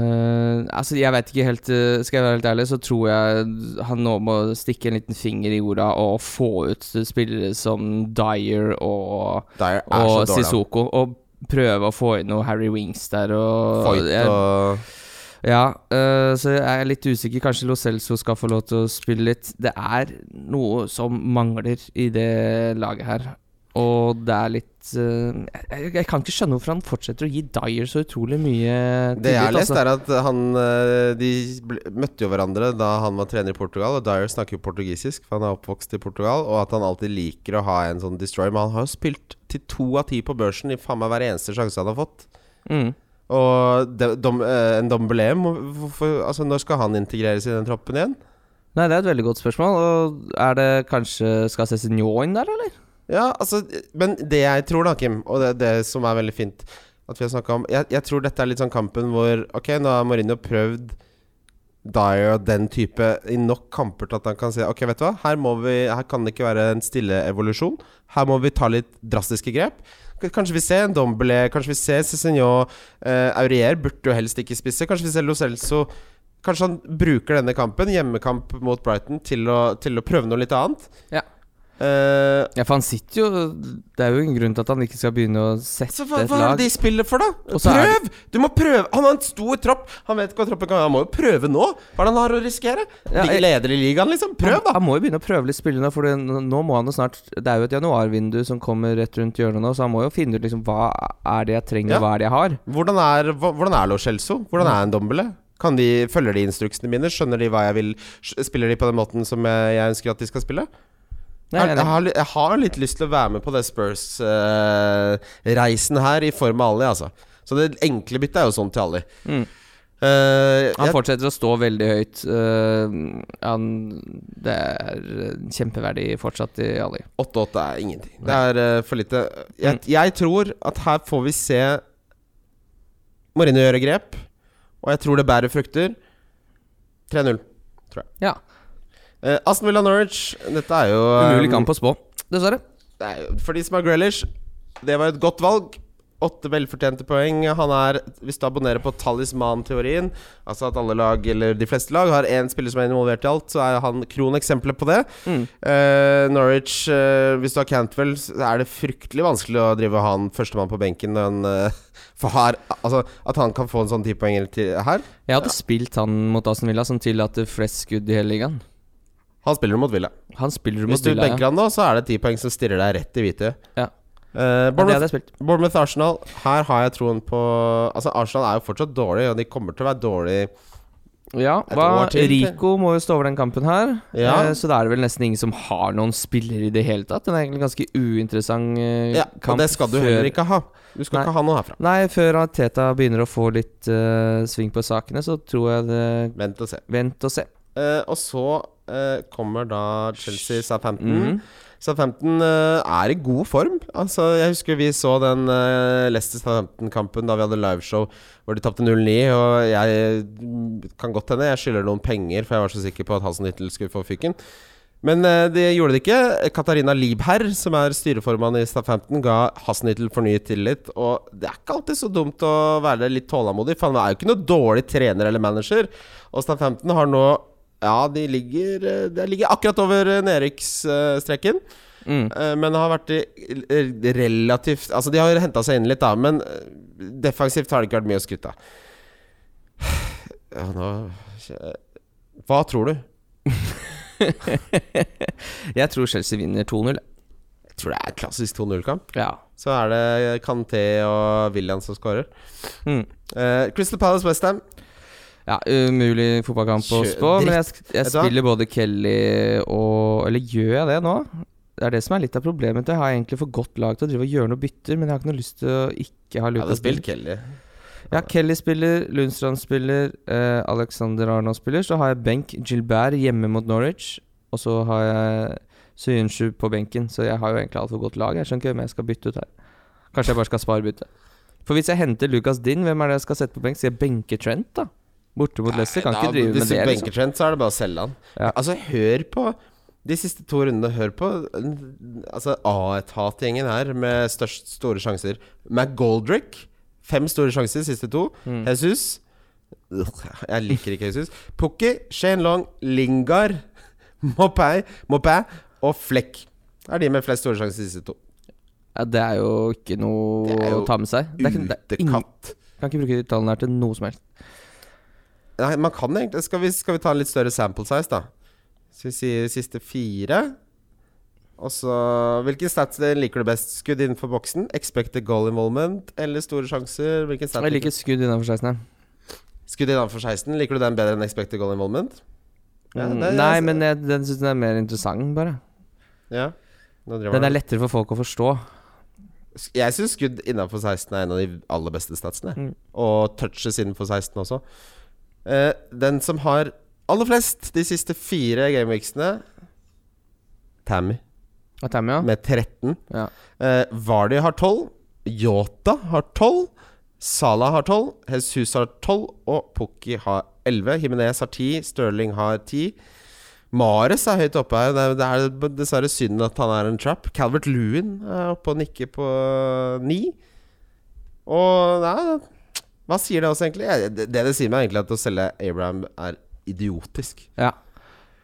Speaker 2: Eh, altså, jeg vet ikke helt eh, Skal jeg være helt ærlig, så tror jeg han nå må stikke en liten finger i jorda og få ut spillere som Dyer og,
Speaker 3: Dyer er så
Speaker 2: og
Speaker 3: dårlig. han.
Speaker 2: Sissoko. Og prøve å få inn noe Harry Wings der og
Speaker 3: Foyt
Speaker 2: jeg,
Speaker 3: og
Speaker 2: Ja, eh, så jeg er litt usikker. Kanskje Lo Celso skal få lov til å spille litt. Det er noe som mangler i det laget her. Og det er litt eh, jeg, jeg kan ikke skjønne hvorfor han fortsetter å gi Dyer så utrolig mye
Speaker 3: Det jeg har
Speaker 2: tillit,
Speaker 3: lest,
Speaker 2: altså.
Speaker 3: er at han eh, De ble- møtte jo hverandre da han var trener i Portugal, og Dyer snakker jo portugisisk, for han er oppvokst i Portugal, og at han alltid liker å ha en sånn destroy. Men han har jo spilt til to av ti på børsen i faen meg hver eneste sjanse han har fått.
Speaker 2: Mm.
Speaker 3: Og de, dom, eh, en Dombelé må- hvorfor- altså, Når skal han integreres i den troppen igjen?
Speaker 2: Nei, det er et veldig godt spørsmål. Og er det kanskje Skal Cezinho inn der, eller?
Speaker 3: Ja, altså Men det jeg tror, da, Kim, og det, det som er veldig fint at vi har snakket om jeg, jeg tror dette er litt sånn kampen hvor Ok, nå har Mourinho prøvd Dyer og den type i nok kamper til at han kan se Ok, vet du hva, her, må vi, her kan det ikke være en stille evolusjon. Her må vi ta litt drastiske grep. K- Kanskje vi ser en Dombele, kanskje vi ser Cézinho eh, Aurier burde jo helst ikke spisse. Kanskje vi ser Lo Celso Kanskje han bruker denne kampen, hjemmekamp mot Brighton, til å, til å prøve noe litt annet.
Speaker 2: Ja.
Speaker 3: Eh,
Speaker 2: Ja, for han sitter jo Det er jo en grunn til at han ikke skal begynne å sette
Speaker 3: Så hva,
Speaker 2: et
Speaker 3: hva er
Speaker 2: lag.
Speaker 3: det de spiller for, da?
Speaker 2: Og så er
Speaker 3: Prøv! Du må prøve! Han har en stor tropp. Han vet ikke hva troppen kan Han må jo prøve nå! Hva er det han har å risikere?
Speaker 2: Ja,
Speaker 3: Ligger
Speaker 2: jeg-
Speaker 3: leder i ligaen, liksom. Prøv,
Speaker 2: Han,
Speaker 3: da!
Speaker 2: han må jo begynne å prøve litt spillene, for det- nå nå må han jo snart Det er jo et januarvindu som kommer rett rundt hjørnet nå, så han må jo finne ut liksom hva er det jeg trenger,
Speaker 3: Ja.
Speaker 2: og hva er det jeg har.
Speaker 3: Hvordan er, hva- hvordan er Lo Celso? Hvordan er en dombele? Kan de, følger de instruksene mine? Skjønner de hva jeg vil? Sk- Spiller de på den måten som jeg, jeg ønsker at de skal spille?
Speaker 2: Nei,
Speaker 3: jeg,
Speaker 2: jeg,
Speaker 3: jeg,
Speaker 2: jeg,
Speaker 3: har, li- jeg har litt lyst til å være med på det Spurs-reisen her, i form av Ali, altså. Så det enkle byttet er jo sånn til Ali.
Speaker 2: Mm.
Speaker 3: Eh,
Speaker 2: han
Speaker 3: jeg-
Speaker 2: fortsetter å stå veldig høyt. øh, han, det er øh, kjempeverdi fortsatt i Ali.
Speaker 3: 8-8 er ingenting. Det er eh, for lite. Jeg, jeg tror at her får vi se Mourinho gjøre grep, og jeg tror det bærer frukter. 3-0.
Speaker 2: Ja.
Speaker 3: Eh, Aston Villa Norwich, dette er jo eh,
Speaker 2: Umulig kamp å spå, dessverre.
Speaker 3: det er jo- For de som har Grealish, det var et godt valg. Åtte velfortjente poeng. Han er, hvis du abonnerer på talisman-teorien, altså at alle lag, eller de fleste lag, har én spiller som er involvert i alt, så er han kroneksempelet på det.
Speaker 2: Mm.
Speaker 3: Eh, Norwich, eh, hvis du har Cantwell, så er det fryktelig vanskelig å drive han førstemann på benken når han eh, For her Altså, at han kan få en sånn ti poeng eller ti her
Speaker 2: Jeg hadde spilt han mot Aston Villa, som tillater flest skudd i hele ligaen.
Speaker 3: Han spiller mot Villa.
Speaker 2: Han spiller
Speaker 3: Hvis
Speaker 2: mot
Speaker 3: du
Speaker 2: Villa, ja.
Speaker 3: benker han nå, så er det ti poeng som stirrer deg rett i hvite.
Speaker 2: Ja. ja.
Speaker 3: Eh,
Speaker 2: Det
Speaker 3: Bournemouth
Speaker 2: hadde jeg spilt.
Speaker 3: Bournemouth Arsenal, her har jeg troen på Altså Arsenal er jo fortsatt dårlig, og de kommer til å være dårlig
Speaker 2: Ja,
Speaker 3: Et
Speaker 2: hva,
Speaker 3: år til.
Speaker 2: Rico må jo stå over den kampen her,
Speaker 3: Ja.
Speaker 2: eh, så da er det vel nesten ingen som har noen spillere i det hele tatt. Den er egentlig en ganske uinteressant eh,
Speaker 3: ja,
Speaker 2: kamp.
Speaker 3: Og det skal du
Speaker 2: før-
Speaker 3: heller ikke ha. Du skal
Speaker 2: Nei.
Speaker 3: ikke ha noe herfra.
Speaker 2: Nei, før Teta begynner å få litt eh, sving på sakene, så tror jeg det
Speaker 3: Vent og se.
Speaker 2: Vent og se.
Speaker 3: Eh, og så eh, kommer da Chelsea Southampton.
Speaker 2: Mhm.
Speaker 3: Southampton eh, er i god form. Altså, jeg husker vi så den eh, Leicester Southampton-kampen da vi hadde liveshow hvor de tapte 0-9. Og jeg mm, kan godt hende jeg skylder noen penger, for jeg var så sikker på at Hasenhyttel skulle få fyken. Men eh, det gjorde det ikke. Katarina Liebherr, som er styreformann i Southampton, ga Hasenhyttel fornyet tillit. Og det er ikke alltid så dumt å være litt tålmodig, for han er jo ikke noe dårlig trener eller manager. Og Southampton har nå ja, de ligger, eh, de ligger akkurat over eh, nedrykksstreken.
Speaker 2: Mm.
Speaker 3: Eh, Men har vært i eh, relativt Altså, de har henta seg inn litt, da, men eh, defensivt har det ikke vært mye å skryte av. Ja, nå eh, Hva tror du?
Speaker 2: Mm. Jeg tror Chelsea vinner 2-0.
Speaker 3: Jeg tror det er klassisk 2-0-kamp.
Speaker 2: Ja.
Speaker 3: Så er det Kanté og William som skårer.
Speaker 2: Mm.
Speaker 3: Eh, Crystal Palace Westham.
Speaker 2: Ja, umulig fotballkamp å
Speaker 3: Kjø-
Speaker 2: spå, men jeg, sk- jeg
Speaker 3: Vet du hva?
Speaker 2: spiller både Kelly og Eller gjør jeg det nå? Det er det som er litt av problemet. Jeg har egentlig for godt lag til å drive og gjøre noe bytter, men jeg har ikke noe lyst til å ikke ha
Speaker 3: Jeg hadde
Speaker 2: Lucas
Speaker 3: spilt Kelly.
Speaker 2: Ja, Kelly spiller, Lundstrand spiller, eh, Alexander Arnold spiller. Så har jeg benk Gilbert hjemme mot Norwich, og så har jeg Synsju på benken. Så jeg har jo egentlig altfor godt lag. Jeg skjønner ikke hvem jeg skal bytte ut her. Kanskje jeg bare skal spare bytte. For hvis jeg henter Lucas Din, hvem er det jeg skal sette på benk? Skal jeg benke Trent, da? Borte mot Leicester, kan
Speaker 3: Nei,
Speaker 2: ikke
Speaker 3: da,
Speaker 2: drive med
Speaker 3: Hvis du
Speaker 2: det. Liksom.
Speaker 3: benker Trent, så er det bare å selge han.
Speaker 2: Ja.
Speaker 3: Altså, hør på de siste to rundene. Hør på altså, A1-hat-gjengen her med
Speaker 2: Mm.
Speaker 3: størst store sjanser. McGoldrick, fem store sjanser, siste to. Jesus, Ugh, Jeg liker ikke Jesus. Pukki, Shane Long, Lingard, Mopay, Mopay og Fleck. Det er de med flest store sjanser, disse to.
Speaker 2: Ja, det er jo ikke noe
Speaker 3: Det er jo
Speaker 2: å ta med seg. Det er ikke, det er ingen,
Speaker 3: Utekatt.
Speaker 2: kan ikke bruke de tallene her til noe som helst.
Speaker 3: Nei, man kan egentlig skal vi, skal vi ta en litt større sample size, da? Så vi sier siste fire. Og så Hvilken stats liker du best? Skudd innenfor boksen? Expected goal involvement? Eller store sjanser? Hvilken stat
Speaker 2: Jeg liker skudd innenfor 16.
Speaker 3: Skudd innenfor 16. Liker du den bedre enn expected goal involvement? Ja,
Speaker 2: Mm.
Speaker 3: det-
Speaker 2: Nei, men jeg, den syns den er mer interessant, bare.
Speaker 3: Ja. Nå driver
Speaker 2: Den
Speaker 3: han-
Speaker 2: er lettere for folk å forstå.
Speaker 3: Sk- Jeg syns skudd innenfor 16 er en av de aller beste statsene.
Speaker 2: Mm.
Speaker 3: Og touches innenfor 16 også. Eh, den som har aller flest de siste fire gameweeksene Tammy
Speaker 2: At jeg er med, ja.
Speaker 3: med 13.
Speaker 2: Ja.
Speaker 3: Eh, Vardy har 12. Yota har 12. Salah har 12. Jesus har 12. Og Pukki har 11. Himinez har 10. Sterling har 10. Mares er høyt oppe her. Det er, det er dessverre synd at han er en trap. Calvert Lewin er oppe og nikker på 9. Og nei, hva sier det oss egentlig? Jeg- Det det det sier meg, egentlig, er at å selge Abraham er idiotisk.
Speaker 2: ja.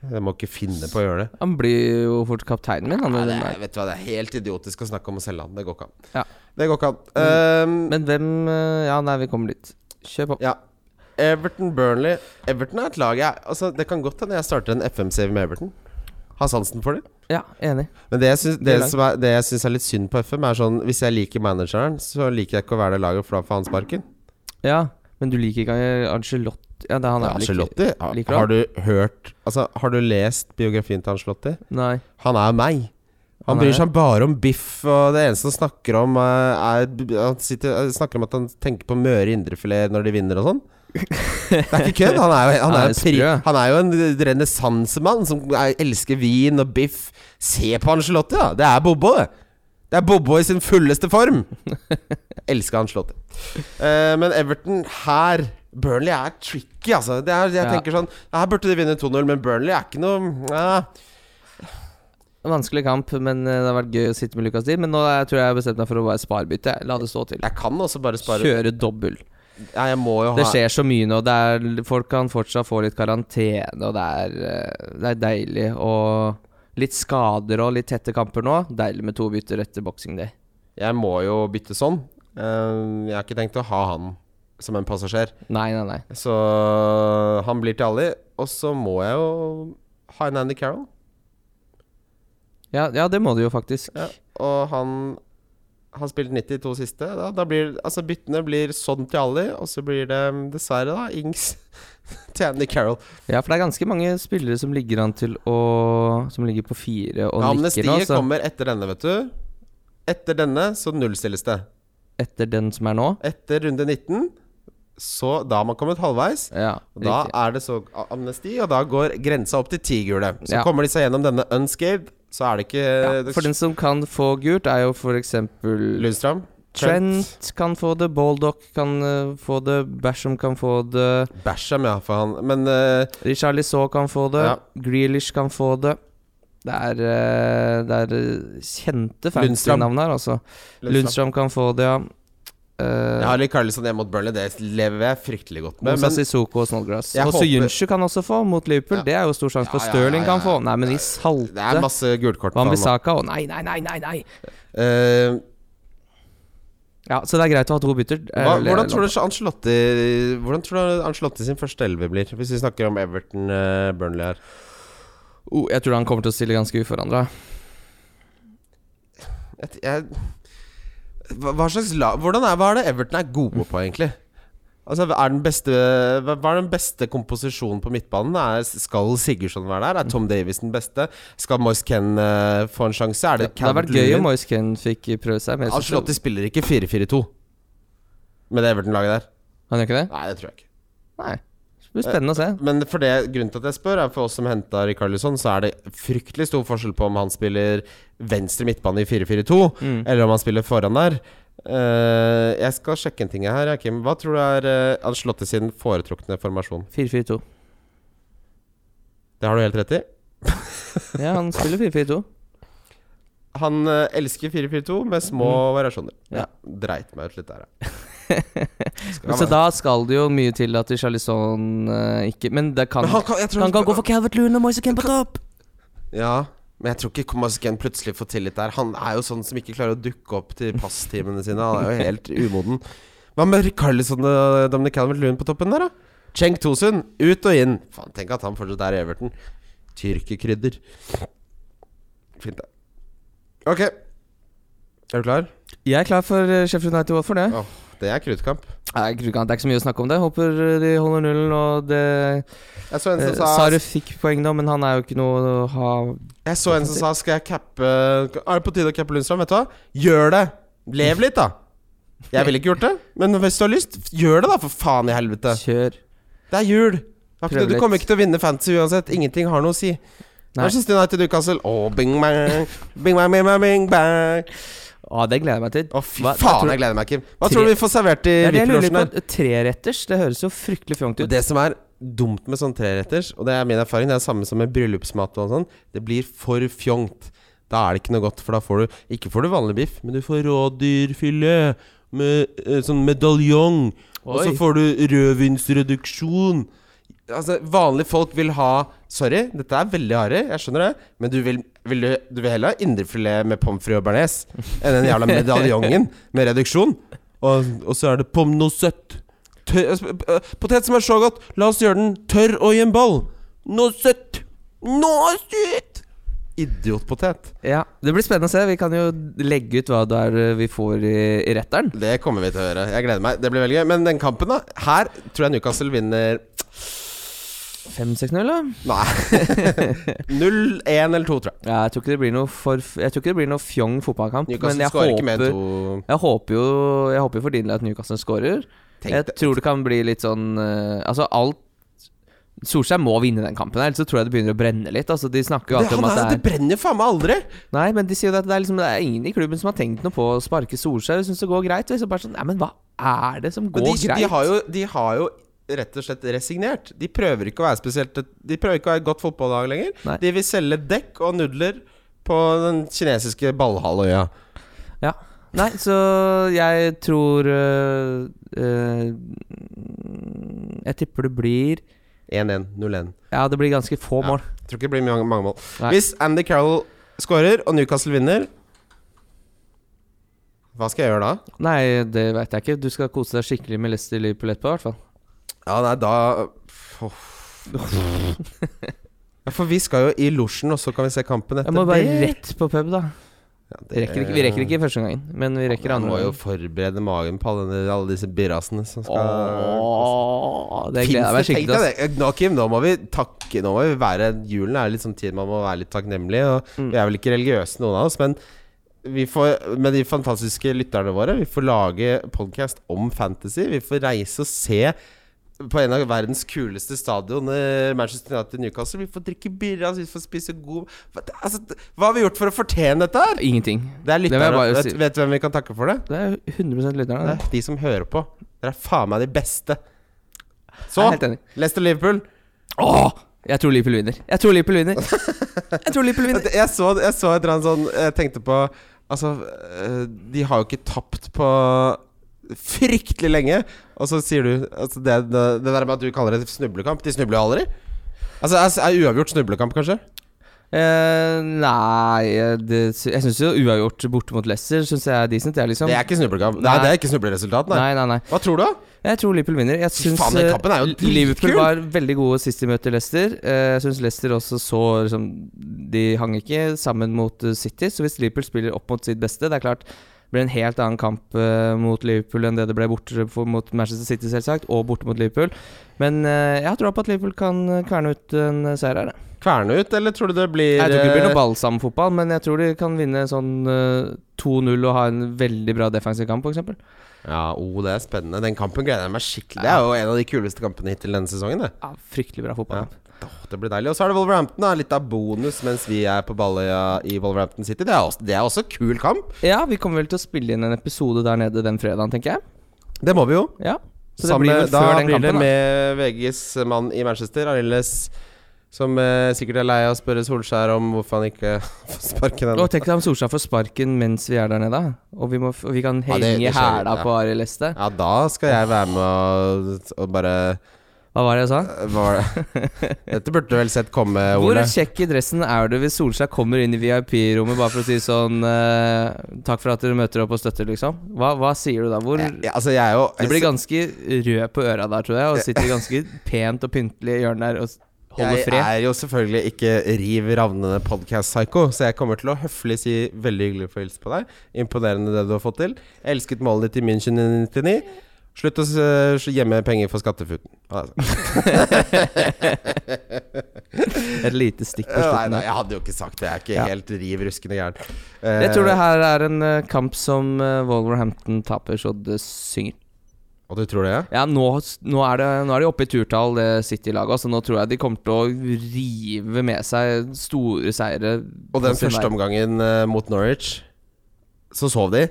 Speaker 3: Jeg må ikke finne på å gjøre det.
Speaker 2: Han blir jo fort kapteinen min. Han,
Speaker 3: Nei,
Speaker 2: med
Speaker 3: det
Speaker 2: den
Speaker 3: er,
Speaker 2: der.
Speaker 3: vet du hva, det er helt idiotisk å snakke om å selge han. Det går ikke an.
Speaker 2: Ja. Mm.
Speaker 3: Det går ikke an. Ehm,
Speaker 2: Men hvem eh, Ja, nei, vi kommer dit. Kjør på.
Speaker 3: ja. Everton Burnley. Everton er et lag jeg altså, Det kan godt hende jeg starter en FM-save med Everton. Har sansen for det.
Speaker 2: Ja, enig.
Speaker 3: Men det jeg syns, det
Speaker 2: Det er langt.
Speaker 3: som er, det jeg syns er litt synd på FM, er sånn Hvis jeg liker manageren, så liker jeg ikke å være det laget, for da får han sparken.
Speaker 2: Ja, men du liker ikke Angelotti? Ja, det er han
Speaker 3: Ja,
Speaker 2: er vel ikke-
Speaker 3: Ancelotti, har-
Speaker 2: liker
Speaker 3: har du hørt Altså, har du lest biografien til Ancelotti?
Speaker 2: Nei.
Speaker 3: Han er meg. Han
Speaker 2: Han
Speaker 3: bryr
Speaker 2: er-
Speaker 3: seg bare om biff, og det eneste han snakker om, eh, er Han sitter, eh, snakker om at han tenker på Møre indrefilet når de vinner og sånn. Det er ikke kødd! Han er jo, han er
Speaker 2: Han er
Speaker 3: jo, pri,
Speaker 2: sprø.
Speaker 3: han er jo en renessansemann som er, elsker vin og biff. Se på Angelotti, da! Det er Bobo, det! Det er Bobo i sin fulleste form! Elsker Angelotti. Eh, men Everton her Burnley er tricky, altså. Det er, jeg
Speaker 2: Ja.
Speaker 3: tenker sånn Her burde de vinne 2-0, men Burnley er ikke noe eh,
Speaker 2: En Vanskelig kamp, men eh, det har vært gøy å sitte med Lucas Dean. Men nå er- tror jeg jeg har bestemt meg for å bare sparebytte. jeg. La det stå til.
Speaker 3: Jeg kan også bare spare
Speaker 2: Kjøre dobbel.
Speaker 3: Ja, jeg må jo ha
Speaker 2: Det skjer så mye nå. Det er, folk kan fortsatt få litt karantene, og det er, eh, det er deilig. Og litt skader og litt tette kamper nå. Deilig med to bytter etter boxing day.
Speaker 3: Jeg må jo bytte sånn. Eh, jeg har ikke tenkt å ha han som en passasjer.
Speaker 2: Nei, nei, nei.
Speaker 3: Så han blir til Ali. Og så må jeg jo ha en Andy Carroll.
Speaker 2: Ja, ja det må du jo faktisk.
Speaker 3: Ja. Og han har spilt 90 de to siste. Da, da blir, altså Byttene blir sånn til Ali, og så blir det dessverre da Ings til Andy Carroll.
Speaker 2: Ja, for det er ganske mange spillere som ligger an til å Som ligger på fire og nikker nå. altså.
Speaker 3: Amnestiet
Speaker 2: Så
Speaker 3: kommer etter denne, vet du. Etter denne så nullstilles det.
Speaker 2: etter den som er nå
Speaker 3: Etter runde 19, så da har man kommet halvveis.
Speaker 2: Ja,
Speaker 3: Og Da
Speaker 2: riktig.
Speaker 3: er det så a- amnesti, og da går grensa opp til ti gule. Så
Speaker 2: Ja.
Speaker 3: kommer de seg gjennom denne unscathed, så er det ikke eh,
Speaker 2: Ja, for den som kan få gult, er jo f.eks.
Speaker 3: Lundstrøm.
Speaker 2: Trent kan få det, Baldock kan eh, få det, Basham kan få det,
Speaker 3: Basham, ja, for han. Men eh,
Speaker 2: Richarlison kan få det,
Speaker 3: Ja.
Speaker 2: Grealish kan få det. Det er, eh, det er eh, kjente
Speaker 3: Lundstrøm.
Speaker 2: fancy-navn her, altså. Lundstrøm kan få det, ja. Uh,
Speaker 3: Jeg har litt Carlisson hjemme mot Burnley, det lever jeg fryktelig godt med.
Speaker 2: Moussa
Speaker 3: Men
Speaker 2: Sissoko og Snodgrass.
Speaker 3: Jeg
Speaker 2: Og
Speaker 3: håper-
Speaker 2: Soyuncu kan også få, mot Liverpool.
Speaker 3: Ja.
Speaker 2: Det er jo stor sjanse for.
Speaker 3: Ja, ja, ja,
Speaker 2: Stirling
Speaker 3: ja,
Speaker 2: kan få.
Speaker 3: ja.
Speaker 2: Nei, men de
Speaker 3: det er
Speaker 2: salte
Speaker 3: masse gulkort. for han nå.
Speaker 2: Wanbisaka og Nei, nei, nei, nei! nei
Speaker 3: Eh,
Speaker 2: Ja, Så det er greit å ha to bytter.
Speaker 3: hva, hvordan tror du Ancelotti Hvordan tror du Ancelotti sin første elleve blir, hvis vi snakker om Everton eh, Burnley her?
Speaker 2: oh, Jeg tror han kommer til å stille ganske uforandra.
Speaker 3: Jeg, jeg, hva, hva slags la, hvordan er, hva er det Everton er gode på, egentlig? Altså, er den beste, hva hva er den beste komposisjonen på midtbanen? Er, skal Sigurdsson være der? Er Tom Davies den beste? Skal Moise Ken eh, få en sjanse? Er det
Speaker 2: Det hadde vært gøy om Moise Ken fikk prøve seg. Men jeg synes-
Speaker 3: Ancelotti spiller ikke 4-4-2 med det Everton-laget der.
Speaker 2: Han gjør ikke det?
Speaker 3: Nei, det tror jeg ikke.
Speaker 2: Nei. Det blir spennende å se.
Speaker 3: Men for det, grunnen til at jeg spør, er for oss som henta Rikarlisson, så er det fryktelig stor forskjell på om han spiller venstre midtbane i 4-4-2,
Speaker 2: Mm.
Speaker 3: eller om han spiller foran der. Eh, jeg skal sjekke en ting her, ja, Kim. Hva tror du er uh, Ancelotti sin foretrukne formasjon?
Speaker 2: 4-4-2.
Speaker 3: Det har du helt rett i.
Speaker 2: Ja, han spiller 4-4-2.
Speaker 3: Han eh, elsker 4-4-2 med små variasjoner.
Speaker 2: Mm. Ja.
Speaker 3: Dreit meg ut litt der, ja. Skal
Speaker 2: Men så
Speaker 3: være-
Speaker 2: da skal det jo mye til at Charlison eh, ikke Men det kan
Speaker 3: Men han kan, jeg tror
Speaker 2: Han kan gå for Calvert Lune og Moise Ken på topp!
Speaker 3: Ja, men jeg tror ikke Masken plutselig får tillit der. Han er jo sånn som ikke klarer å dukke opp til passtimene sine. Han er jo helt umoden. Hva med Carlisson og Dominic Calvert Lewin på toppen der, da? Cheng Tosun, ut og inn. Faen, tenk at han fortsatt er i Everton. Tyrkerkrydder. Fint, det. Ok. Er du klar?
Speaker 2: Jeg er klar for eh, Sheffield United Watford, det.
Speaker 3: Det er kruttkamp.
Speaker 2: Nei, jeg tror ikke- Det er ikke så mye å snakke om det. Håper eh, de holder nullen. Og det
Speaker 3: Jeg så en
Speaker 2: eh,
Speaker 3: som sa
Speaker 2: Sare fikk poeng nå, men han er jo ikke noe å ha
Speaker 3: Jeg så en som sa Skal jeg cappe Er det på tide å cappe Lundstrøm? Vet du hva? Gjør det! Lev litt, da. Jeg ville ikke gjort det, men hvis du har lyst, gjør det, da, for faen i helvete.
Speaker 2: Kjør.
Speaker 3: Det er jul. Det er ikke
Speaker 2: Prøv
Speaker 3: det- Du
Speaker 2: litt.
Speaker 3: kommer ikke til å vinne fantasy uansett. Ingenting har noe å si.
Speaker 2: Nei.
Speaker 3: Manchester United Newcastle Å, bing bang, bing bang, bing bang, bing bang.
Speaker 2: Å, Ah, det gleder jeg meg til.
Speaker 3: Å, fy
Speaker 2: Hva- hva
Speaker 3: faen,
Speaker 2: tror-
Speaker 3: jeg gleder meg, Kim. Hva
Speaker 2: Tre-
Speaker 3: tror du vi får servert
Speaker 2: Det
Speaker 3: i
Speaker 2: er det jeg lurer
Speaker 3: VIP-losjen her?
Speaker 2: på. Treretters, det høres jo fryktelig fjongt
Speaker 3: Og
Speaker 2: ut.
Speaker 3: Det som er dumt med sånn treretters, og det er min erfaring, det er samme som med bryllupsmat og sånn, det blir for fjongt. Da er det ikke noe godt, for da får du Ikke får du vanlig biff, men du får rådyrfilet med eh, sånn medaljong. Og så
Speaker 2: Oi.
Speaker 3: får du rødvinsreduksjon. Altså, vanlige folk vil ha Sorry, dette er veldig harry, jeg skjønner det, men du vil, vil, du- du vil heller ha indrefilet med pommes frites og bearnés enn den jævla medaljongen med reduksjon. Og, og så er det pommes noisette. Tørr- altså, p- p- Potet som er så godt, la oss gjøre den tørr og i en ball. Noe søtt. Noe søtt! Idiotpotet.
Speaker 2: Ja, Det blir spennende å se. Vi kan jo legge ut hva det er eh, vi får i, i retteren.
Speaker 3: Det kommer vi til å gjøre. Jeg gleder meg. Det blir veldig gøy. Men den kampen, da. Her tror jeg Newcastle vinner
Speaker 2: 5-6-0, da?
Speaker 3: Nei. 0-1 eller 2, tror jeg.
Speaker 2: Ja, jeg tror ikke det blir noe for Jeg tror ikke det blir noe fjong fotballkamp. Men
Speaker 3: Newcastle
Speaker 2: jeg
Speaker 3: skårer ikke mer enn
Speaker 2: håper,
Speaker 3: to.
Speaker 2: jeg håper jo Jeg håper jo for din del at Newcastle scorer.
Speaker 3: Tenk
Speaker 2: Jeg
Speaker 3: det.
Speaker 2: tror det kan bli litt sånn eh, Altså, alt Solskjær må vinne den kampen, her, ellers så tror jeg det begynner å brenne litt. Altså, De snakker jo
Speaker 3: Det,
Speaker 2: alltid
Speaker 3: han
Speaker 2: om at
Speaker 3: er,
Speaker 2: det
Speaker 3: det
Speaker 2: er
Speaker 3: brenner jo faen meg aldri!
Speaker 2: Nei, men de sier jo at det er, liksom, det er ingen i klubben som har tenkt noe på å sparke Solskjær. Jeg syns det går greit. Og jeg så bare sånn Nei, men hva er det som går
Speaker 3: Men de,
Speaker 2: greit?
Speaker 3: de, har jo, de har jo rett og slett resignert. De prøver ikke å være spesielt De prøver ikke å være et godt fotballag lenger.
Speaker 2: Nei.
Speaker 3: De vil selge dekk og nudler på den kinesiske ballhalvøya.
Speaker 2: Ja. Nei, så jeg tror øh, øh, Jeg tipper det blir
Speaker 3: 1-1, 0-1.
Speaker 2: Ja, det blir ganske få
Speaker 3: Ja.
Speaker 2: mål.
Speaker 3: Tror ikke det blir mange, mange mål.
Speaker 2: Nei.
Speaker 3: Hvis Andy Carroll scorer og Newcastle vinner Hva skal jeg gjøre da?
Speaker 2: Nei, det veit jeg ikke. Du skal kose deg skikkelig med Leicester Liverpool etterpå, i hvert fall.
Speaker 3: Ja, nei, da Ja, For vi skal jo i losjen, og så kan vi se kampen etter
Speaker 2: Jeg må bare
Speaker 3: det.
Speaker 2: rett på pub, da.
Speaker 3: Ja, det-
Speaker 2: Vi rekker ikke, vi rekker ikke første gangen, men vi rekker
Speaker 3: Man
Speaker 2: andre
Speaker 3: må jo
Speaker 2: gangen.
Speaker 3: forberede magen på alle, denne- alle disse birrasene som skal
Speaker 2: Åh, det gleder jeg meg
Speaker 3: Finnes det-
Speaker 2: skikkelig til. ass.
Speaker 3: tenk deg det. Nå, Kim, nå må vi takke Nå må vi være Julen er litt sånn tid man må være litt takknemlig. Og
Speaker 2: Mm.
Speaker 3: Vi er vel ikke religiøse, noen av oss, men vi får, med de fantastiske lytterne våre, vi får lage podkast om fantasy. Vi får reise og se på en av verdens kuleste stadion, eh, Manchester United Newcastle. Vi får drikke birra, vi får spise god Hva- altså, Hva har vi gjort for å fortjene dette her?
Speaker 2: Ingenting.
Speaker 3: Det er
Speaker 2: Det vil jeg
Speaker 3: lytterne.
Speaker 2: bare
Speaker 3: Vet,
Speaker 2: si.
Speaker 3: vet du hvem vi kan takke for det?
Speaker 2: Det er 100 lytterne.
Speaker 3: Det
Speaker 2: det.
Speaker 3: er de som hører på. Dere er faen meg de beste. Så
Speaker 2: Jeg er helt enig.
Speaker 3: Leicester Liverpool.
Speaker 2: Åh, jeg tror Liverpool vinner. Jeg tror Liverpool vinner. Jeg tror Liverpool vinner.
Speaker 3: Jeg så, jeg så et eller annet sånn Jeg tenkte på Altså, eh, de har jo ikke tapt på fryktelig lenge. Og så sier du altså det, det, det der med at du kaller det snublekamp. De snubler jo aldri. Altså, er, er uavgjort snublekamp, kanskje?
Speaker 2: Eh, nei eh, det, sy- Jeg syns jo uavgjort borte mot Leicester syns jeg er decent, jeg, liksom.
Speaker 3: Det er ikke snublekamp. Nei,
Speaker 2: Nei.
Speaker 3: det er ikke snubleresultat, nei.
Speaker 2: nei, nei, nei.
Speaker 3: Hva tror du, da?
Speaker 2: Jeg tror Liverpool vinner. Jeg syns
Speaker 3: faen, den
Speaker 2: eh,
Speaker 3: kampen er jo dritkul!
Speaker 2: Liverpool var veldig gode sist de møtte Leicester. Eh, Jeg syns Leicester også så liksom, De hang ikke sammen mot eh, City, så hvis Liverpool spiller opp mot sitt beste Det er klart det blir en helt annen kamp eh, mot Liverpool enn det det ble borte for, mot Manchester City, selvsagt, og borte mot Liverpool. Men eh, jeg har troa på at Liverpool kan eh, kverne ut en eh, seier her. jeg.
Speaker 3: Kverne ut, eller tror du det blir
Speaker 2: Jeg tror ikke det blir
Speaker 3: eh,
Speaker 2: noe balsamfotball, men jeg tror de kan vinne sånn eh, 2-0 og ha en veldig bra defensiv kamp, f.eks.
Speaker 3: Ja, oh, det er spennende. Den kampen gleder jeg meg skikkelig. Det er jo en av de kuleste kampene hittil denne sesongen. Det,
Speaker 2: Ja, fryktelig bra fotballkamp.
Speaker 3: Åh, det blir deilig. Og så er det Wolverhampton. Da. Litt av bonus mens vi er på Balløya i Wolverhampton City. Det er også, det er også kul kamp.
Speaker 2: Ja. vi kommer vel til å spille inn en episode der nede den fredagen, tenker jeg.
Speaker 3: Det må vi jo.
Speaker 2: Ja, Så det
Speaker 3: Sammen-
Speaker 2: blir vel
Speaker 3: da
Speaker 2: før den
Speaker 3: blir det
Speaker 2: kampen, da.
Speaker 3: med VGs mann i Manchester, Arildes Som eh, sikkert er lei av å spørre Solskjær om hvorfor han ikke får sparken ennå.
Speaker 2: Og tenk deg om Solskjær får sparken mens vi er der nede, og vi, må, f- og vi kan
Speaker 3: Ja,
Speaker 2: henge
Speaker 3: det- det skjer jo,
Speaker 2: hæla
Speaker 3: ja.
Speaker 2: på Arild Leste.
Speaker 3: Ja, da skal jeg være med og, og bare
Speaker 2: Hva var det jeg sa?
Speaker 3: Hva var det? Dette burde du vel sett komme,
Speaker 2: Hvor
Speaker 3: Ole.
Speaker 2: kjekk i dressen er du hvis Solskjær kommer inn i VIP-rommet bare for å si sånn eh, Takk for at dere møter opp og støtter, liksom? Hva, hva sier du da? Hvor
Speaker 3: Ja, altså, jeg er jo
Speaker 2: Du blir ganske rød på øra der, tror jeg, og sitter ganske pent og pyntelig i hjørnet der og s- holder
Speaker 3: Jeg
Speaker 2: fred.
Speaker 3: er jo selvfølgelig ikke Riv ravnende podcast-psycho, så jeg kommer til å høflig si veldig hyggelig å få hilse på deg. Imponerende det du har fått til. Jeg elsket målet ditt i München i 99. Slutt å eh, s- gjemme penger for skattefuten. Altså.
Speaker 2: Et lite stikk på
Speaker 3: Nei,
Speaker 2: slutten
Speaker 3: nei,
Speaker 2: der.
Speaker 3: jeg hadde jo ikke sagt det. Jeg er ikke
Speaker 2: Ja.
Speaker 3: helt riv ruskende gæren.
Speaker 2: Jeg tror det her er en eh, kamp som eh, Wolverhampton taper så det synger.
Speaker 3: Eh, Og du tror det, ja?
Speaker 2: Ja, nå, nå, er det, nå er de oppe i turtall, det City-laget. Så nå tror jeg de kommer til å rive med seg store seire.
Speaker 3: Og
Speaker 2: på
Speaker 3: den
Speaker 2: sin
Speaker 3: første
Speaker 2: vei.
Speaker 3: omgangen eh, mot Norwich, så sov de.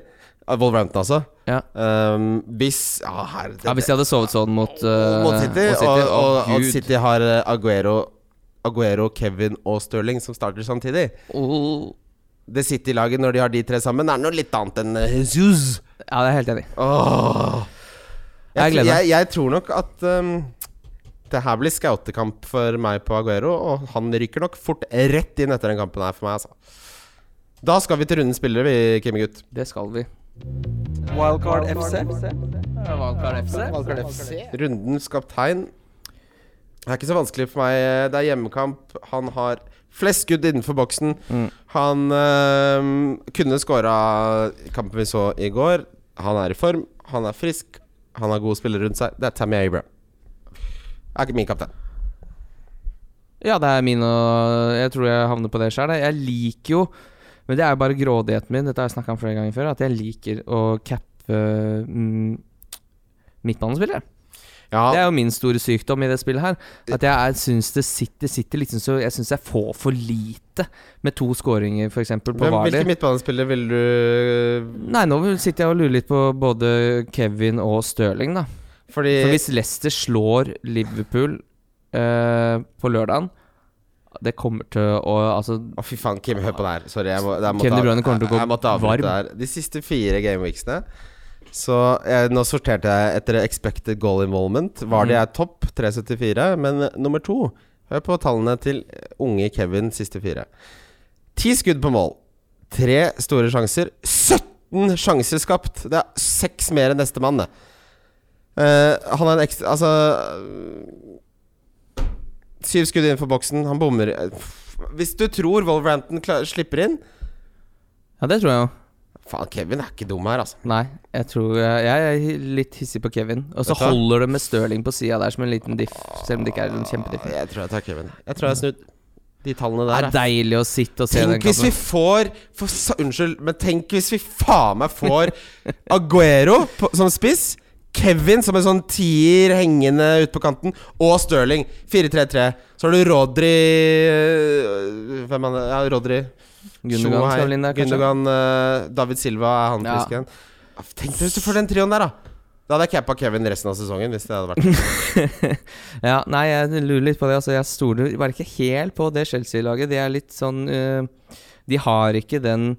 Speaker 3: Uh, Wolverhampton, altså.
Speaker 2: Ja.
Speaker 3: Um, hvis Ja, her det,
Speaker 2: Ja, Hvis de hadde sovet sånn mot, eh,
Speaker 3: mot City,
Speaker 2: mot
Speaker 3: og, og,
Speaker 2: Å,
Speaker 3: og
Speaker 2: Gud.
Speaker 3: City har eh, Aguero, Aguero, Kevin og Sterling som starter samtidig.
Speaker 2: Åh.
Speaker 3: Det City-laget, når de har de tre sammen, er noe litt annet enn eh, Jesus.
Speaker 2: Ja, det er jeg helt enig. i.
Speaker 3: Åh.
Speaker 2: Jeg
Speaker 3: tror-
Speaker 2: gleder meg.
Speaker 3: jeg, jeg tror nok at um, det her blir scoutekamp for meg på Aguero, og han ryker nok fort rett inn etter den kampen her for meg, altså. Da skal vi til rundens spillere, vi, Kimi Gutt.
Speaker 2: Det skal vi.
Speaker 1: Wildcard FC.
Speaker 2: Valgkart FC.
Speaker 3: Rundens kaptein Det er ikke så vanskelig for meg. Det er hjemmekamp. Han har flest skudd innenfor boksen. Han eh, kunne skåra kampen vi så i går. Han er i form, han er frisk, han har gode spillere rundt seg. Det er Tammy Abraham. Er ikke min kaptein.
Speaker 2: Ja, det er min og Jeg tror jeg havner på det sjøl. Jeg liker jo Men det er jo bare grådigheten min, dette har jeg snakka om flere ganger før, at jeg liker å cappe mm, midtbanespillere.
Speaker 3: Ja,
Speaker 2: Det er jo min store sykdom i det spillet her. At jeg er- syns det sitter, sitter liksom så Jeg syns jeg får for lite med to skåringer, f.eks. på
Speaker 3: hvem,
Speaker 2: Hvaler.
Speaker 3: hvilke midtbanespillere vil du
Speaker 2: Nei, nå sitter jeg og lurer litt på både Kevin og Stirling, da.
Speaker 3: Fordi
Speaker 2: For hvis Leicester slår Liverpool eh, på lørdagen Det kommer til å Altså
Speaker 3: Å, fy faen, Kim, hør på det her. Sorry. Jeg, må, jeg, måtte,
Speaker 2: Kevin De
Speaker 3: av-
Speaker 2: Bruyne kommer til å gå
Speaker 3: jeg, jeg måtte avbryte
Speaker 2: varm.
Speaker 3: der. De siste fire gameweeksene Så jeg, Nå sorterte jeg etter expected goal involvement. Var
Speaker 2: Mm.
Speaker 3: de er topp, 3,74, men eh, nummer to Hør på tallene til unge Kevin siste fire. Ti skudd på mål. Tre store sjanser. 17 sjanser skapt! Det er seks mer enn nestemann, det. Eh, han er en ekstra Altså øh, Syv skudd innenfor boksen. Han bommer eh, f- Hvis du tror Wolverhampton klar, slipper inn
Speaker 2: Ja, det tror jeg jo.
Speaker 3: Faen, Kevin er ikke dum her, altså.
Speaker 2: Nei, jeg tror jeg, jeg er litt hissig på Kevin. Og så
Speaker 3: Vet du hva?
Speaker 2: holder det med Stirling på sida der som en liten diff, selv om det ikke er en kjempediff.
Speaker 3: Jeg tror jeg tar Kevin. Jeg tror jeg har snudd de tallene
Speaker 2: Det
Speaker 3: der.
Speaker 2: er deilig å sitte og se den
Speaker 3: Tenk hvis vi
Speaker 2: kampen.
Speaker 3: får for, sa- Unnskyld, men tenk hvis vi faen meg får Aguero på, som spiss, Kevin som en sånn tier hengende ute på kanten, og Sterling. 4-3-3. Så har du Rodri øh, Hvem er det? Ja, Rodri.
Speaker 2: Gundogan
Speaker 3: Schumacher,
Speaker 2: skal vel inn der, kanskje.
Speaker 3: Gundogan øh, David Silva er han
Speaker 2: Ja.
Speaker 3: frisken. Ja. Tenk deg hvis du får den trioen der, da! Da hadde jeg cappa Kevin resten av sesongen. Hvis det hadde vært
Speaker 2: Ja, nei, jeg lurer litt på det. Altså, jeg stoler bare ikke helt på det Chelsea-laget. De er litt sånn eh, De har ikke den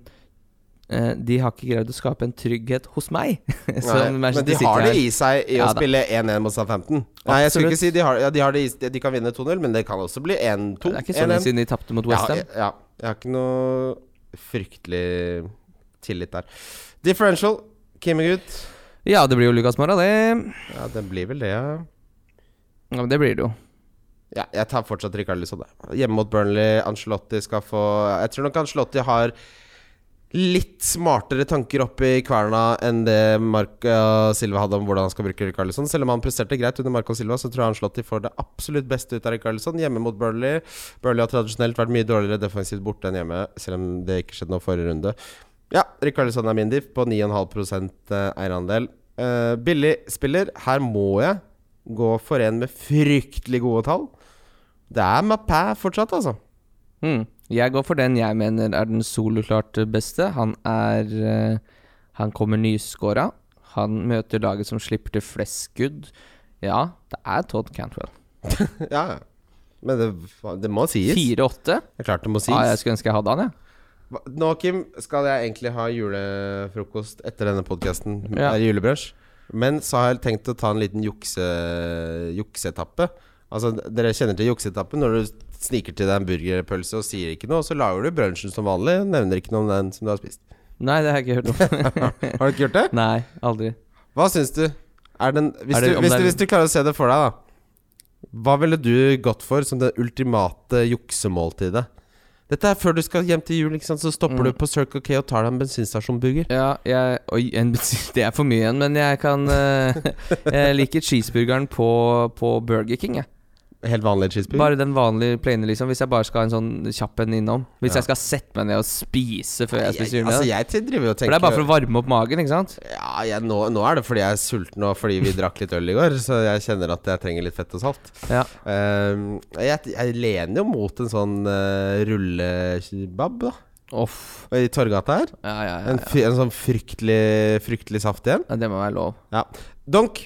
Speaker 2: eh, De har ikke greid å skape en trygghet hos meg.
Speaker 3: Nei,
Speaker 2: som
Speaker 3: men
Speaker 2: Manchester
Speaker 3: de
Speaker 2: City
Speaker 3: har det
Speaker 2: har.
Speaker 3: i seg i å
Speaker 2: Ja da.
Speaker 3: spille 1-1 mot Southampton. Nei, jeg
Speaker 2: Absolutt.
Speaker 3: skulle ikke si de har, ja, de, har det i, de kan vinne 2-0, men det kan også bli 1-2.
Speaker 2: Det er ikke sånn
Speaker 3: 1-1.
Speaker 2: siden de tapte mot
Speaker 3: ja,
Speaker 2: Westham.
Speaker 3: jeg, ja, jeg har ikke noe fryktelig tillit der. Differential, Kimmegut.
Speaker 2: Ja, det blir jo Lucas Mora, det.
Speaker 3: Ja, det blir vel det, ja.
Speaker 2: Ja, men det blir det jo.
Speaker 3: Ja, jeg tar fortsatt Rikard Lisson. Hjemme mot Burnley. Ancelotti skal få Jeg tror nok Ancelotti har litt smartere tanker oppi kverna enn det Marco Silva hadde om hvordan han skal bruke Rikard Lisson. Selv om han presterte greit under Marco Silva, så tror jeg Ancelotti får det absolutt beste ut av Rikard Lisson. Hjemme mot Burnley. Burnley har tradisjonelt vært mye dårligere defensivt borte enn hjemme, selv om det ikke skjedde noe forrige runde. Ja, Rikard Lisson er min diff på 9,5 eierandel. Eh, billig spiller. Her må jeg gå for en med fryktelig gode tall. Det er Mapæ fortsatt, altså.
Speaker 2: Mm. Jeg går for den jeg mener er den soloklart beste. Han er eh, Han kommer nyskåra. Han møter laget som slipper til flest skudd. Ja, det er Todd Cantwell.
Speaker 3: ja, ja. Men det, det må sies.
Speaker 2: 4-8?
Speaker 3: Det er klart det må sies.
Speaker 2: Ja, jeg skulle ønske jeg hadde han, jeg.
Speaker 3: Hva- Nå, Kim, skal jeg egentlig ha julefrokost etter denne podkasten.
Speaker 2: Ja.
Speaker 3: Julebransj. Men så har jeg tenkt å ta en liten jukse, jukseetappe. Altså, dere kjenner til jukseetappen når du sniker til deg en burgerpølse og sier ikke noe, og så lager du brunsjen som vanlig, nevner ikke noe om den som du har spist.
Speaker 2: Nei, det har jeg ikke hørt om.
Speaker 3: Har du ikke gjort det?
Speaker 2: Nei, aldri.
Speaker 3: Hva syns du? Er den, hvis,
Speaker 2: Er det-
Speaker 3: du,
Speaker 2: om
Speaker 3: hvis,
Speaker 2: det er-
Speaker 3: du, hvis du klarer å se det for deg, da. Hva ville du gått for som det ultimate juksemåltidet? Dette er før du skal hjem til jul, ikke sant? så stopper
Speaker 2: Mm.
Speaker 3: du på Circle K og tar deg en bensinstasjonburger.
Speaker 2: Ja, jeg Oi, en, bensin- det er for mye igjen, men jeg kan eh, Jeg liker cheeseburgeren på, på Burger King, jeg.
Speaker 3: Helt vanlig cheeseburger.
Speaker 2: Bare den vanlige plaine, liksom. Hvis jeg bare skal ha en sånn kjapp en innom. Hvis
Speaker 3: Ja.
Speaker 2: jeg skal sette meg ned og spise før jeg spiser
Speaker 3: altså,
Speaker 2: julemiddag.
Speaker 3: jeg til- driver jo og
Speaker 2: For
Speaker 3: tenker
Speaker 2: det er bare for å varme opp magen, ikke sant?
Speaker 3: ja, jeg, nå, nå er det fordi jeg er sulten og fordi vi drakk litt øl i går, så jeg kjenner at jeg trenger litt fett og salt.
Speaker 2: Ja.
Speaker 3: Ehm, jeg, jeg lener jo mot en sånn uh, rullekebab da,
Speaker 2: Uff.
Speaker 3: i Torgata her.
Speaker 2: Ja, ja, ja.
Speaker 3: En, fy- en sånn fryktelig, fryktelig saftig en.
Speaker 2: ja. Det må være lov.
Speaker 3: Ja. Donk.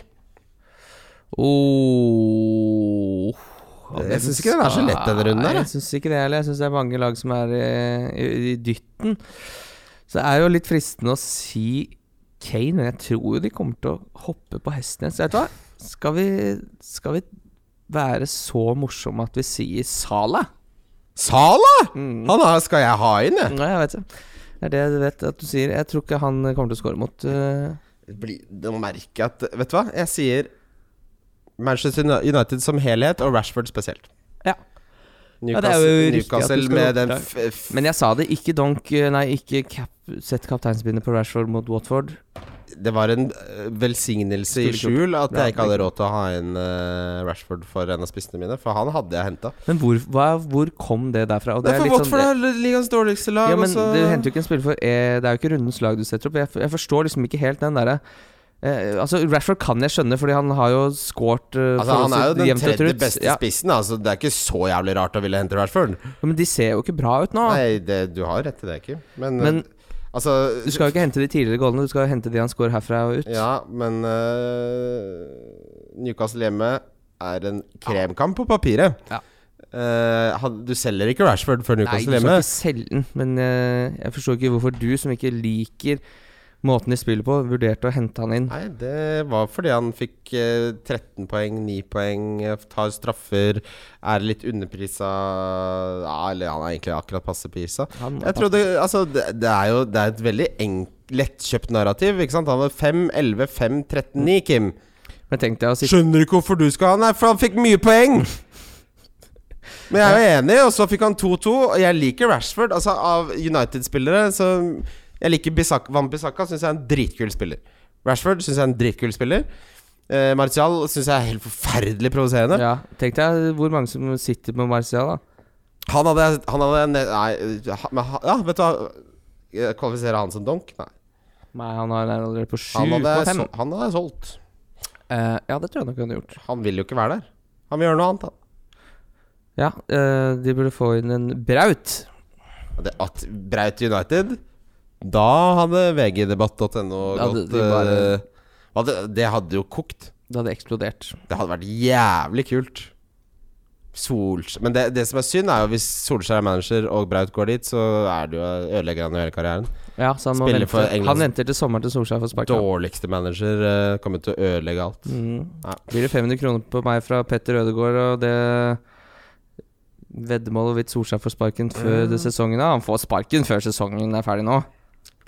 Speaker 2: Oh.
Speaker 3: Jeg synes ikke den er så lett, denne runden her,
Speaker 2: Nei,
Speaker 3: jeg.
Speaker 2: Jeg syns ikke det heller. Jeg syns det er mange lag som er eh, i, i dytten. Så det er jo litt fristende å si Kane, men jeg tror jo de kommer til å hoppe på hesten igjen. Så vet du hva? Skal vi, skal vi være så morsomme at vi sier Sala?
Speaker 3: Sala!
Speaker 2: Mm.
Speaker 3: Han har, skal jeg ha inn, jeg.
Speaker 2: Nei, jeg vet det. Det er det du vet at du sier. Jeg tror ikke han kommer til å score mot eh,
Speaker 3: Bli- Nå merker jeg at Vet du hva? Jeg sier Manchester United som helhet og Rashford spesielt.
Speaker 2: Ja. Ja, det er
Speaker 3: Newcastle,
Speaker 2: jo riktig at du
Speaker 3: Newcastle
Speaker 2: skal
Speaker 3: med den
Speaker 2: gå-
Speaker 3: f f
Speaker 2: Men jeg sa det. Ikke donk eh, Nei, ikke cap, sett kapteinsbindet på Rashford mot Watford.
Speaker 3: Det var en eh, velsignelse i
Speaker 2: Skulle ikke
Speaker 3: skjul at
Speaker 2: Ja,
Speaker 3: jeg ikke hadde råd til å ha inn eh, Rashford for en av spissene mine, for han hadde jeg henta.
Speaker 2: Men hvor, hva, hvor kom det derfra? Og
Speaker 3: Det er for altså.
Speaker 2: litt sånn-
Speaker 3: Watford er ligaens dårligste lag.
Speaker 2: Ja, men
Speaker 3: og så-
Speaker 2: Du henter jo ikke en spiller for eh, Det er jo ikke rundens lag du setter opp. Jeg, f- jeg forstår liksom ikke helt den derre eh, Altså, Rashford kan jeg skjønne, fordi han har jo scoret eh,
Speaker 3: Altså, han er
Speaker 2: forholdsvis
Speaker 3: jo den
Speaker 2: jevnt og
Speaker 3: tredje
Speaker 2: trutt.
Speaker 3: beste
Speaker 2: Ja,
Speaker 3: spissen, altså. Det er ikke så jævlig rart å ville hente Rashford.
Speaker 2: men de ser jo ikke bra ut nå.
Speaker 3: Nei, det, du har rett i det, Kim. Men,
Speaker 2: Ah. Men-
Speaker 3: altså
Speaker 2: Du skal jo ikke hente de tidligere goalene, du skal jo hente de han scorer herfra og ut.
Speaker 3: Ja, men eh, Newcastle hjemme er en kremkamp på papiret.
Speaker 2: Ja.
Speaker 3: Eh, had- du selger ikke Rashford før
Speaker 2: Nei, du
Speaker 3: Newcastle hjemme.
Speaker 2: skal ikke selge den, men eh, jeg forstår ikke hvorfor du, som ikke liker måten de spiller på, vurderte å hente han inn.
Speaker 3: Nei, det var fordi han fikk eh, 13 poeng, 9 poeng, eh, tar straffer, er litt underprisa ja, Eller han er egentlig akkurat passe prisa.
Speaker 2: Han må
Speaker 3: Jeg trodde, altså, det, det er jo det er et veldig enk, lettkjøpt narrativ. Ikke sant? Han var 5, 11, 5, 13, 9, Kim.
Speaker 2: Men tenkte jeg å sitte
Speaker 3: Skjønner ikke hvorfor du skal ha han her, for han fikk mye poeng! Men jeg er jo enig, og så fikk han 2-2. Og jeg liker Rashford. Altså Av United-spillere så Jeg liker Bisak Van Bissaka, syns jeg er en dritkul spiller. Rashford syns jeg er en dritkul spiller. Eh, Martial syns jeg er helt forferdelig provoserende.
Speaker 2: ja, tenkte jeg hvor mange som sitter med Marcial, da.
Speaker 3: Han hadde Han hadde ne- Nei, ha- men ha- ja, vet du hva Jeg Kvalifiserer han som donk? Nei.
Speaker 2: Nei, han har han er allerede på sju
Speaker 3: Han
Speaker 2: på
Speaker 3: hadde,
Speaker 2: fem.
Speaker 3: sol- han hadde solgt.
Speaker 2: Eh, ja, det tror jeg nok han hadde gjort.
Speaker 3: Han vil jo ikke være der. Han vil gjøre noe annet, han.
Speaker 2: Ja, eh, de burde få inn en Braut.
Speaker 3: Ja, det at Braut United Da hadde vgdebatt.no
Speaker 2: Da hadde
Speaker 3: gått
Speaker 2: de bare-
Speaker 3: eh, hadde, Det hadde jo kokt.
Speaker 2: Det hadde eksplodert.
Speaker 3: Det hadde vært jævlig kult. Solskjær Men det, det som er synd, er jo hvis Solskjær er manager og Braut går dit, så er det jo ødelegger han jo hele karrieren.
Speaker 2: Ja, så han, må
Speaker 3: Spiller
Speaker 2: vente.
Speaker 3: for England.
Speaker 2: han venter til sommeren til Solskjær får sparken.
Speaker 3: Dårligste manager eh, kommer til å ødelegge alt.
Speaker 2: Mm.
Speaker 3: Nei.
Speaker 2: Blir det 500 kroner på meg fra Petter Ødegaard, og det Veddemålet hvorvidt Solskjær får sparken før det sesongen er Han får sparken før sesongen er ferdig nå.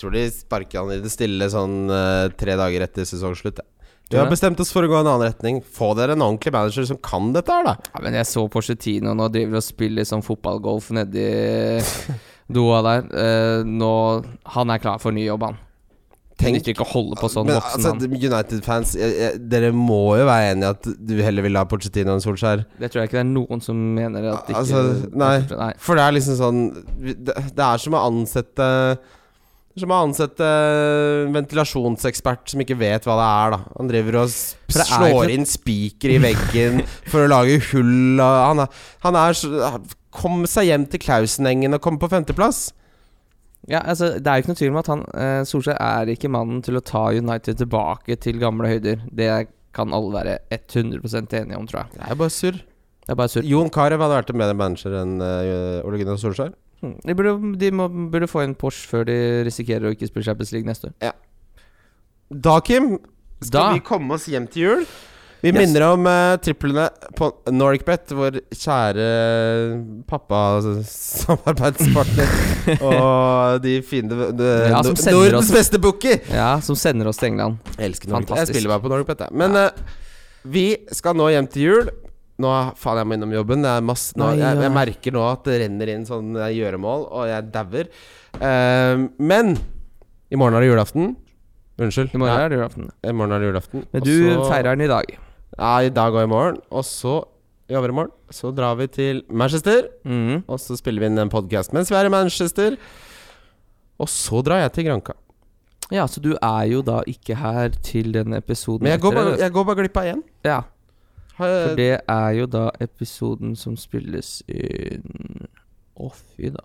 Speaker 3: Tror de sparker han i det stille sånn eh, tre dager etter sesongslutt. jeg. Vi
Speaker 2: Tror
Speaker 3: har
Speaker 2: det.
Speaker 3: bestemt oss for å gå en annen retning. Få dere en ordentlig manager som kan dette her, da.
Speaker 2: Ja, men jeg så Porcetino nå driver og spiller sånn fotballgolf nedi Doha der. Eh, nå Han er klar for ny jobb, han.
Speaker 3: Tenk-
Speaker 2: Nytter ikke å holde på sånn
Speaker 3: Men
Speaker 2: voksen
Speaker 3: altså, United-fans, jeg- jeg- dere må jo være enig i at du heller vil ha Pochettino enn Solskjær.
Speaker 2: han. Det tror jeg ikke det er noen som mener at ikke
Speaker 3: Altså, nei.
Speaker 2: nei.
Speaker 3: For det er liksom sånn Det det er som å ansette det er som å ansette en ventilasjonsekspert som ikke vet hva det er. da Han driver og s-
Speaker 2: For det er
Speaker 3: slår
Speaker 2: ikke-
Speaker 3: inn spiker i veggen for å lage hull og Han er, han er så Kom seg hjem til Klausenengen og kom på femteplass!
Speaker 2: Ja, altså, Det er jo ikke noe tvil om at han eh, Solskjær er ikke mannen til å ta United tilbake til gamle høyder. Det kan alle være 100 enige om, tror jeg.
Speaker 3: Det er jo bare surr.
Speaker 2: Det er bare surr.
Speaker 3: Jon Carew hadde vært en bedre manager enn eh, Ole Gunnar Solskjær.
Speaker 2: Mm. De burde, de må, burde få en Porsche før de risikerer å ikke spille Champions League neste år.
Speaker 3: Da, Kim, skal
Speaker 2: Da.
Speaker 3: vi komme oss hjem til jul? Vi
Speaker 2: Yes.
Speaker 3: minner om eh, triplene på NoricBet, vår kjære eh, pappa-samarbeidspartner. og de fine de-
Speaker 2: Ja, som
Speaker 3: Nor-
Speaker 2: sender oss-
Speaker 3: Nordens beste bookie!
Speaker 2: Ja, som sender oss til England.
Speaker 3: Jeg elsker NoricBet. Jeg
Speaker 2: Fantastisk.
Speaker 3: spiller bare på NoricBet. jeg. Men eh, vi skal nå hjem til jul. Nå Faen, jeg må innom jobben. Det er masse, nå,
Speaker 2: Nei,
Speaker 3: jeg, jeg
Speaker 2: ja.
Speaker 3: merker nå at det renner inn sånn eh, gjøremål, og jeg dauer. Eh, men i morgen er det julaften. Unnskyld.
Speaker 2: I morgen
Speaker 3: Ja,
Speaker 2: er det julaften.
Speaker 3: i morgen er det julaften.
Speaker 2: Men
Speaker 3: og
Speaker 2: du
Speaker 3: så-
Speaker 2: feirer den i dag.
Speaker 3: Ja, i dag og i morgen. Og så i overmorgen så drar vi til Manchester.
Speaker 2: Mhm.
Speaker 3: Og så spiller vi inn en podkast mens vi er i Manchester. Og så drar jeg til Granca.
Speaker 2: Ja, så du er jo da ikke her til denne episoden.
Speaker 3: Men jeg går
Speaker 2: etter
Speaker 3: bare,
Speaker 2: det.
Speaker 3: jeg går bare glipp av én.
Speaker 2: Ja,
Speaker 3: Har
Speaker 2: for
Speaker 3: jeg-
Speaker 2: det er jo da episoden som spilles inn Å, fy da.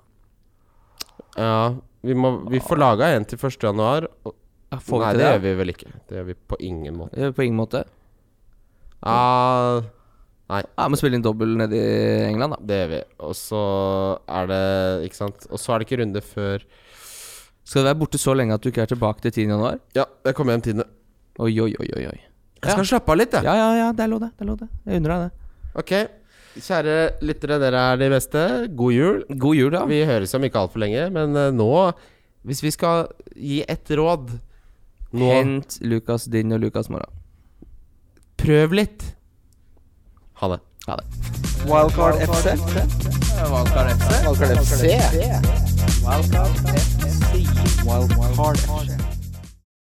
Speaker 3: Ja, vi, må, vi får laga en til 1. januar. Og,
Speaker 2: Ja, Får vi
Speaker 3: nei,
Speaker 2: til
Speaker 3: det gjør
Speaker 2: det?
Speaker 3: vi vel ikke. Det gjør vi på ingen måte.
Speaker 2: det? På ingen måte.
Speaker 3: Ja,
Speaker 2: Ja, Må spille inn dobbel nede i England, da.
Speaker 3: det gjør vi. Og så er det Ikke sant. Og så er det ikke runde før
Speaker 2: Skal du være borte så lenge at du ikke er tilbake til 10. januar?
Speaker 3: Ja, jeg kommer hjem tidlig.
Speaker 2: Oi, oi, oi, oi. oi.
Speaker 3: Jeg skal slappe av litt, jeg.
Speaker 2: Ja, ja, ja, det er lov, det. det, er lov det. Jeg unner deg det.
Speaker 3: Ok. Kjære lyttere, dere er de beste. God jul.
Speaker 2: God jul, da.
Speaker 3: Vi høres om ikke altfor lenge, men eh, nå Hvis vi skal gi ett råd nå
Speaker 2: Hent Lukas din og Lukas Mora.
Speaker 3: Prøv litt. Ha det.
Speaker 2: Ha det.
Speaker 1: Wildcard FC. Wildcard FC. Wildcard FC. Wildcard FC.